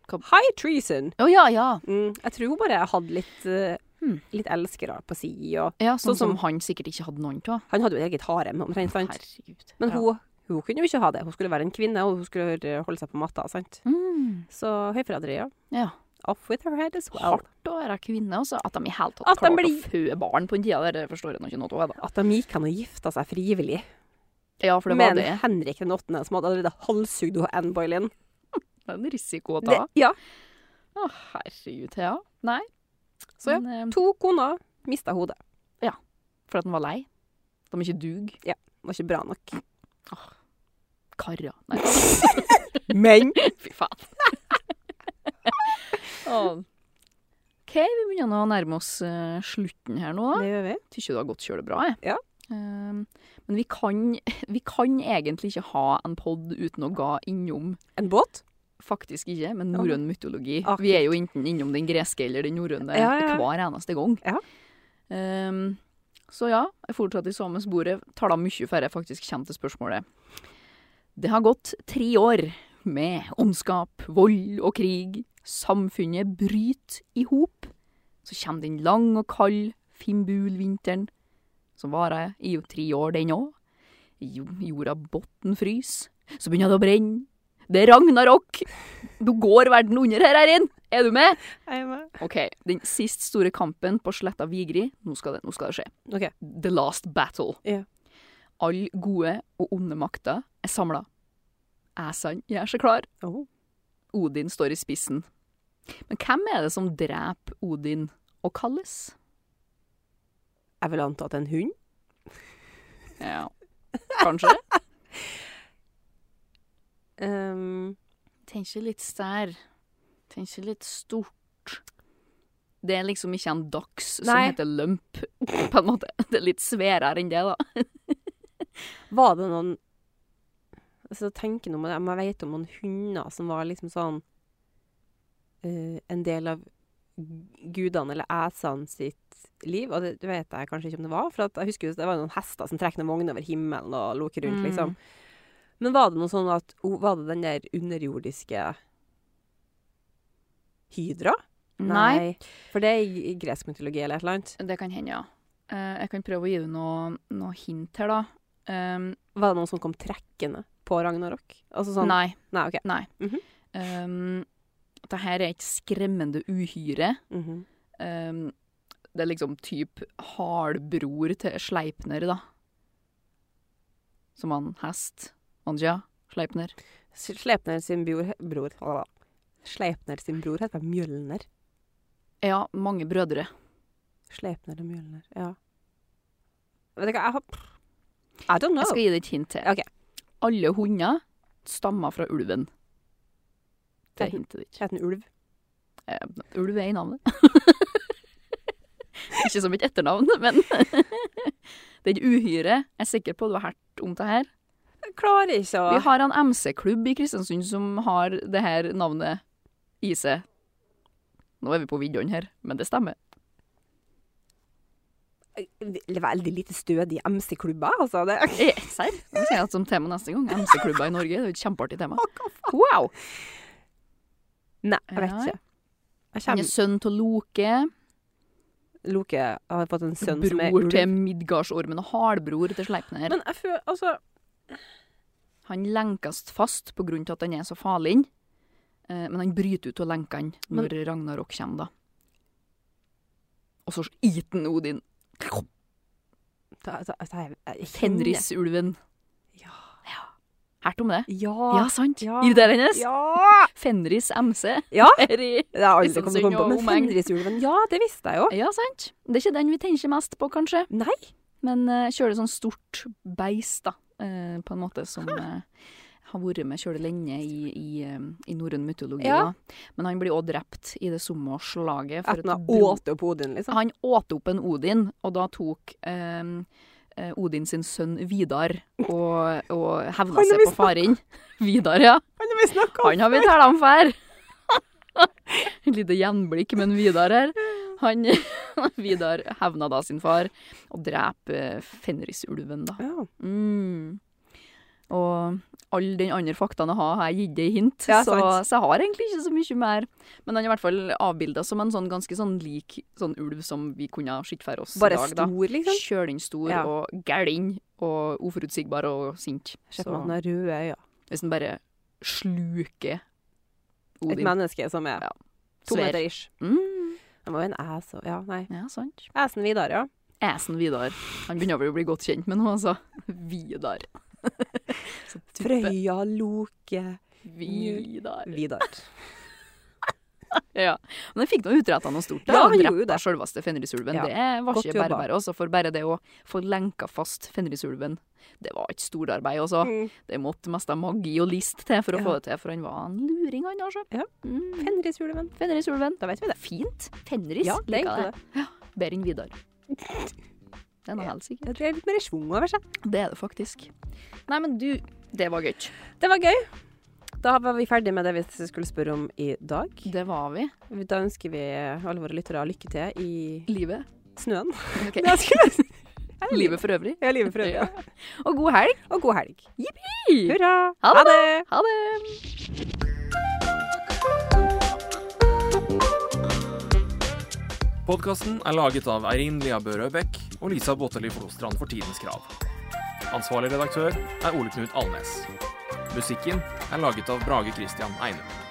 [SPEAKER 3] tror- High treason!
[SPEAKER 2] Å ja, ja.
[SPEAKER 3] Mm, jeg tror hun bare hadde litt, eh,
[SPEAKER 2] Hmm.
[SPEAKER 3] litt elskere på si, og
[SPEAKER 2] ja sånn som
[SPEAKER 3] Sånn som-
[SPEAKER 2] han sikkert ikke hadde noen av.
[SPEAKER 3] Han hadde jo et eget harem, omtrent, sant?
[SPEAKER 2] Herregud.
[SPEAKER 3] Men
[SPEAKER 2] Ja.
[SPEAKER 3] hun, hun kunne jo ikke ha det. Hun skulle være en kvinne, og hun skulle eh, holde seg på matta, sant?
[SPEAKER 2] mm.
[SPEAKER 3] Så høyforræderi, ja.
[SPEAKER 2] Ja.
[SPEAKER 3] Off with her head as well.
[SPEAKER 2] hardt å være kvinne, altså. At de i hele tatt
[SPEAKER 3] At de
[SPEAKER 2] klarte
[SPEAKER 3] blir-
[SPEAKER 2] å føde barn på den tida, det forstår jeg nå ikke noe av. da.
[SPEAKER 3] At de gikk hen og gifta seg frivillig.
[SPEAKER 2] Ja, for det
[SPEAKER 3] Men
[SPEAKER 2] var det.
[SPEAKER 3] Henrik den 8., som hadde allerede halshugd hun Anne Boylin.
[SPEAKER 2] Det er en risiko å ta.
[SPEAKER 3] Det- Ja.
[SPEAKER 2] Å, herregud, ja. Nei.
[SPEAKER 3] Så ja,
[SPEAKER 2] Men, eh,
[SPEAKER 3] to koner mista hodet.
[SPEAKER 2] for at den var lei. De er ikke dug.
[SPEAKER 3] Var ikke bra nok.
[SPEAKER 2] Karra. Nei,
[SPEAKER 3] Men
[SPEAKER 2] fy faen. Å. OK, vi begynner nå å nærme oss eh, slutten her nå. da.
[SPEAKER 3] Det gjør vi.
[SPEAKER 2] Syns jo det har gått kjølig bra, jeg.
[SPEAKER 3] Ja.
[SPEAKER 2] Eh, men vi kan, vi kan egentlig ikke ha en pod uten å gå innom
[SPEAKER 3] En båt?
[SPEAKER 2] Faktisk ikke, men
[SPEAKER 3] Ja.
[SPEAKER 2] norrøn mytologi.
[SPEAKER 3] Ah,
[SPEAKER 2] Vi er jo enten innom den greske eller den norrøne
[SPEAKER 3] Ja, ja, ja.
[SPEAKER 2] hver eneste gang.
[SPEAKER 3] Ja.
[SPEAKER 2] Ehm, så ja, jeg fortsatt i samme sporet. Tala mye før jeg faktisk kommer til spørsmålet. Det har gått tre år med ondskap, vold og krig. Samfunnet bryter i hop. Så kommer den lang og kald fimbulvinteren, som varer i jo tre år, den òg. Jorda bunnfryser. så begynner det å brenne. Det er ragnarok! Nå går verden under her, Erin! Er du med? OK, den sist store kampen på sletta Vigri, nå skal det, nå skal det skje.
[SPEAKER 3] Ok.
[SPEAKER 2] The last battle.
[SPEAKER 3] Ja.
[SPEAKER 2] Alle gode og onde makter er samla. Æsan gjør seg klar.
[SPEAKER 3] Oh.
[SPEAKER 2] Odin står i spissen. Men hvem er det som dreper Odin og Kalles?
[SPEAKER 3] Jeg vil anta at det er en hund.
[SPEAKER 2] Ja, kanskje?
[SPEAKER 3] Ehm,
[SPEAKER 2] Tenk ikke litt stær. Tenk ikke litt stort. Det er liksom ikke en dachs som
[SPEAKER 3] Nei.
[SPEAKER 2] heter lump, på en måte. Det er litt sværere enn det, da.
[SPEAKER 3] var det noen altså, Jeg tenker noe med det, men jeg vet om noen hunder som var liksom sånn eh, En del av g- gudene eller æsene sitt liv. Og det, det vet jeg kanskje ikke om det var, for at jeg husker jo det var noen hester som trekk noen vogner over himmelen og loker
[SPEAKER 2] Mm.
[SPEAKER 3] rundt, liksom. Men var det noe sånn at o- Var det den der underjordiske Hydra?
[SPEAKER 2] Nei.
[SPEAKER 3] For det er i i gresk mytologi eller et eller annet.
[SPEAKER 2] Det kan hende, ja. Eh, Jeg kan prøve å gi deg noe, noe hint her, da. Um,
[SPEAKER 3] Var det noen som kom trekkende på Ragnarok? Altså sånn
[SPEAKER 2] Nei.
[SPEAKER 3] Nei, OK.
[SPEAKER 2] Um, det her er et skremmende uhyre.
[SPEAKER 3] Mhm.
[SPEAKER 2] Um, det er liksom typ halbror til Sleipner, da. Som han hest. Anja Sleipner.
[SPEAKER 3] Sleipner sin bror, bror halala. Sleipner sin bror heter Mjølner.
[SPEAKER 2] Ja, mange brødre.
[SPEAKER 3] Sleipner og Mjølner, ja. Vet du hva, jeg har I don't know.
[SPEAKER 2] Jeg skal gi deg et hint til.
[SPEAKER 3] Oh. Ok.
[SPEAKER 2] Alle hunder stammer fra ulven. Det er hintet ditt.
[SPEAKER 3] Heter en ulv.
[SPEAKER 2] Eh, Ulv er i navnet. Ikke som et etternavn, men Den uhyre Jeg er sikker på du har hørt om det her.
[SPEAKER 3] Jeg klarer ikke å
[SPEAKER 2] Vi har en MC-klubb i Kristiansund som har det her navnet i seg. Nå er vi på videoen her, men det stemmer.
[SPEAKER 3] Det er veldig lite stødige MC-klubber, altså. Det.
[SPEAKER 2] Serr? Det skal jeg ha som tema neste gang. MC-klubber i Norge. Det er jo et kjempeartig tema. Wow!
[SPEAKER 3] Nei, jeg vet
[SPEAKER 2] Ja.
[SPEAKER 3] ikke. Jeg
[SPEAKER 2] Han
[SPEAKER 3] kommer
[SPEAKER 2] er sønn til Loke,
[SPEAKER 3] Loke har fått en sønn som er
[SPEAKER 2] bror
[SPEAKER 3] ulv.
[SPEAKER 2] til Midgardsormen og halvbror til Sleipner.
[SPEAKER 3] Men jeg føler Altså,
[SPEAKER 2] Han lenkes fast på grunn til at han er så farlig, eh, men han bryter ut av lenkene når Ragnarok kommer, da. Og så eter han Odin.
[SPEAKER 3] da, da, da, jeg, jeg kjenner-
[SPEAKER 2] Fenrisulven.
[SPEAKER 3] Ja.
[SPEAKER 2] ja. Hørt om det?
[SPEAKER 3] Ja.
[SPEAKER 2] Ja, sant.
[SPEAKER 3] ja.
[SPEAKER 2] Irriterende.
[SPEAKER 3] Ja!
[SPEAKER 2] Fenris MC.
[SPEAKER 3] Ja.
[SPEAKER 2] Er i-
[SPEAKER 3] Det har jeg aldri
[SPEAKER 2] Liksom
[SPEAKER 3] kommet til å komme på.
[SPEAKER 2] Sunniva
[SPEAKER 3] Men
[SPEAKER 2] Omeng.
[SPEAKER 3] Fenrisulven, ja, det visste jeg jo.
[SPEAKER 2] ja, sant. Det er ikke den vi tenker mest på, kanskje.
[SPEAKER 3] Nei.
[SPEAKER 2] Men uh, kjører sånn stort beist, da. eh, på en måte som eh, har vært med kjølig lenge i, i, eh, i norrøn mytologi.
[SPEAKER 3] Ja.
[SPEAKER 2] Da. Men han blir òg drept i det samme slaget. for
[SPEAKER 3] At den
[SPEAKER 2] at
[SPEAKER 3] har
[SPEAKER 2] bro-
[SPEAKER 3] åte opp Odin, liksom.
[SPEAKER 2] Han åt opp en Odin, og da tok eh, eh, Odin sin sønn Vidar og, og hevna
[SPEAKER 3] Han har
[SPEAKER 2] seg
[SPEAKER 3] vi
[SPEAKER 2] på faren. Vidar, ja.
[SPEAKER 3] Han har vi snakka
[SPEAKER 2] Han har vi talt om før. Et lite gjenblikk med en Vidar her. Han, Vidar hevna da sin far og dreper Fenrisulven, da.
[SPEAKER 3] Ja.
[SPEAKER 2] Mm. Og alle de andre faktaene jeg har, har jeg gitt deg hint,
[SPEAKER 3] Ja,
[SPEAKER 2] så,
[SPEAKER 3] sant.
[SPEAKER 2] så jeg har egentlig ikke så mye mer. Men han er i hvert fall avbilda som en sånn ganske sånn lik sånn ulv som vi kunne sett for oss
[SPEAKER 3] Bare
[SPEAKER 2] i dag. da.
[SPEAKER 3] stor, liksom.
[SPEAKER 2] Kjøling stor
[SPEAKER 3] Ja.
[SPEAKER 2] og gæling og uforutsigbar og sint.
[SPEAKER 3] Sett
[SPEAKER 2] Så-
[SPEAKER 3] med han har røde øyne.
[SPEAKER 2] hvis den bare sluker
[SPEAKER 3] Et
[SPEAKER 2] Odin.
[SPEAKER 3] menneske som er
[SPEAKER 2] Ja.
[SPEAKER 3] to
[SPEAKER 2] Sver.
[SPEAKER 3] meter ish.
[SPEAKER 2] Mm.
[SPEAKER 3] Han var jo en ass og Ja, nei.
[SPEAKER 2] Ja, sant.
[SPEAKER 3] Assen Vidar, ja.
[SPEAKER 2] Æsen Vidar. Han begynner vel å bli godt kjent med nå, altså. Vidar. Så type
[SPEAKER 3] Frøya, Loke
[SPEAKER 2] Vidar.
[SPEAKER 3] Vidar.
[SPEAKER 2] Ja. Men han fikk nå utretta noe stort.
[SPEAKER 3] Ja,
[SPEAKER 2] Da.
[SPEAKER 3] han gjorde jo
[SPEAKER 2] Drepte
[SPEAKER 3] det.
[SPEAKER 2] sjølveste Fenrisulven.
[SPEAKER 3] Ja.
[SPEAKER 2] Det var
[SPEAKER 3] Godt
[SPEAKER 2] ikke
[SPEAKER 3] jobba.
[SPEAKER 2] bare bare. Også for bare det å få lenka fast Fenrisulven, det var et storarbeid, altså.
[SPEAKER 3] Mm.
[SPEAKER 2] Det måtte mest av magi og list til for å
[SPEAKER 3] Ja.
[SPEAKER 2] få det til, for han var en luring, han, altså.
[SPEAKER 3] Ja.
[SPEAKER 2] Mm.
[SPEAKER 3] Fenrisulven.
[SPEAKER 2] Fenrisulven.
[SPEAKER 3] Da vet vi det.
[SPEAKER 2] Fint. Fenris.
[SPEAKER 3] Ja, det er
[SPEAKER 2] liker
[SPEAKER 3] egentlig det.
[SPEAKER 2] Bedre enn Vidar. Den er helt sikker.
[SPEAKER 3] Det er litt mer i schwung over seg.
[SPEAKER 2] Det er det faktisk. Nei, men du, det var gøy.
[SPEAKER 3] Det var gøy. Da var vi ferdig med det vi skulle spørre om i dag.
[SPEAKER 2] Det var vi.
[SPEAKER 3] Da ønsker vi alle våre lyttere lykke til i
[SPEAKER 2] Livet.
[SPEAKER 3] snøen.
[SPEAKER 2] Ok.
[SPEAKER 3] Ja, skulle jeg si.
[SPEAKER 2] Livet for øvrig.
[SPEAKER 3] Ja, livet for øvrig.
[SPEAKER 2] Ja.
[SPEAKER 3] ja.
[SPEAKER 2] Og god helg.
[SPEAKER 3] Og god helg.
[SPEAKER 2] Jippi!
[SPEAKER 3] Hurra.
[SPEAKER 2] Ha det
[SPEAKER 3] det.
[SPEAKER 2] Ha det!
[SPEAKER 1] Podkasten er laget av Eirin Lia Bø Røbekk og Lisa Botteli Flostrand for Tidens Krav. Ansvarlig redaktør er Ole Knut Alnes. Musikken er laget av Brage Christian Eine.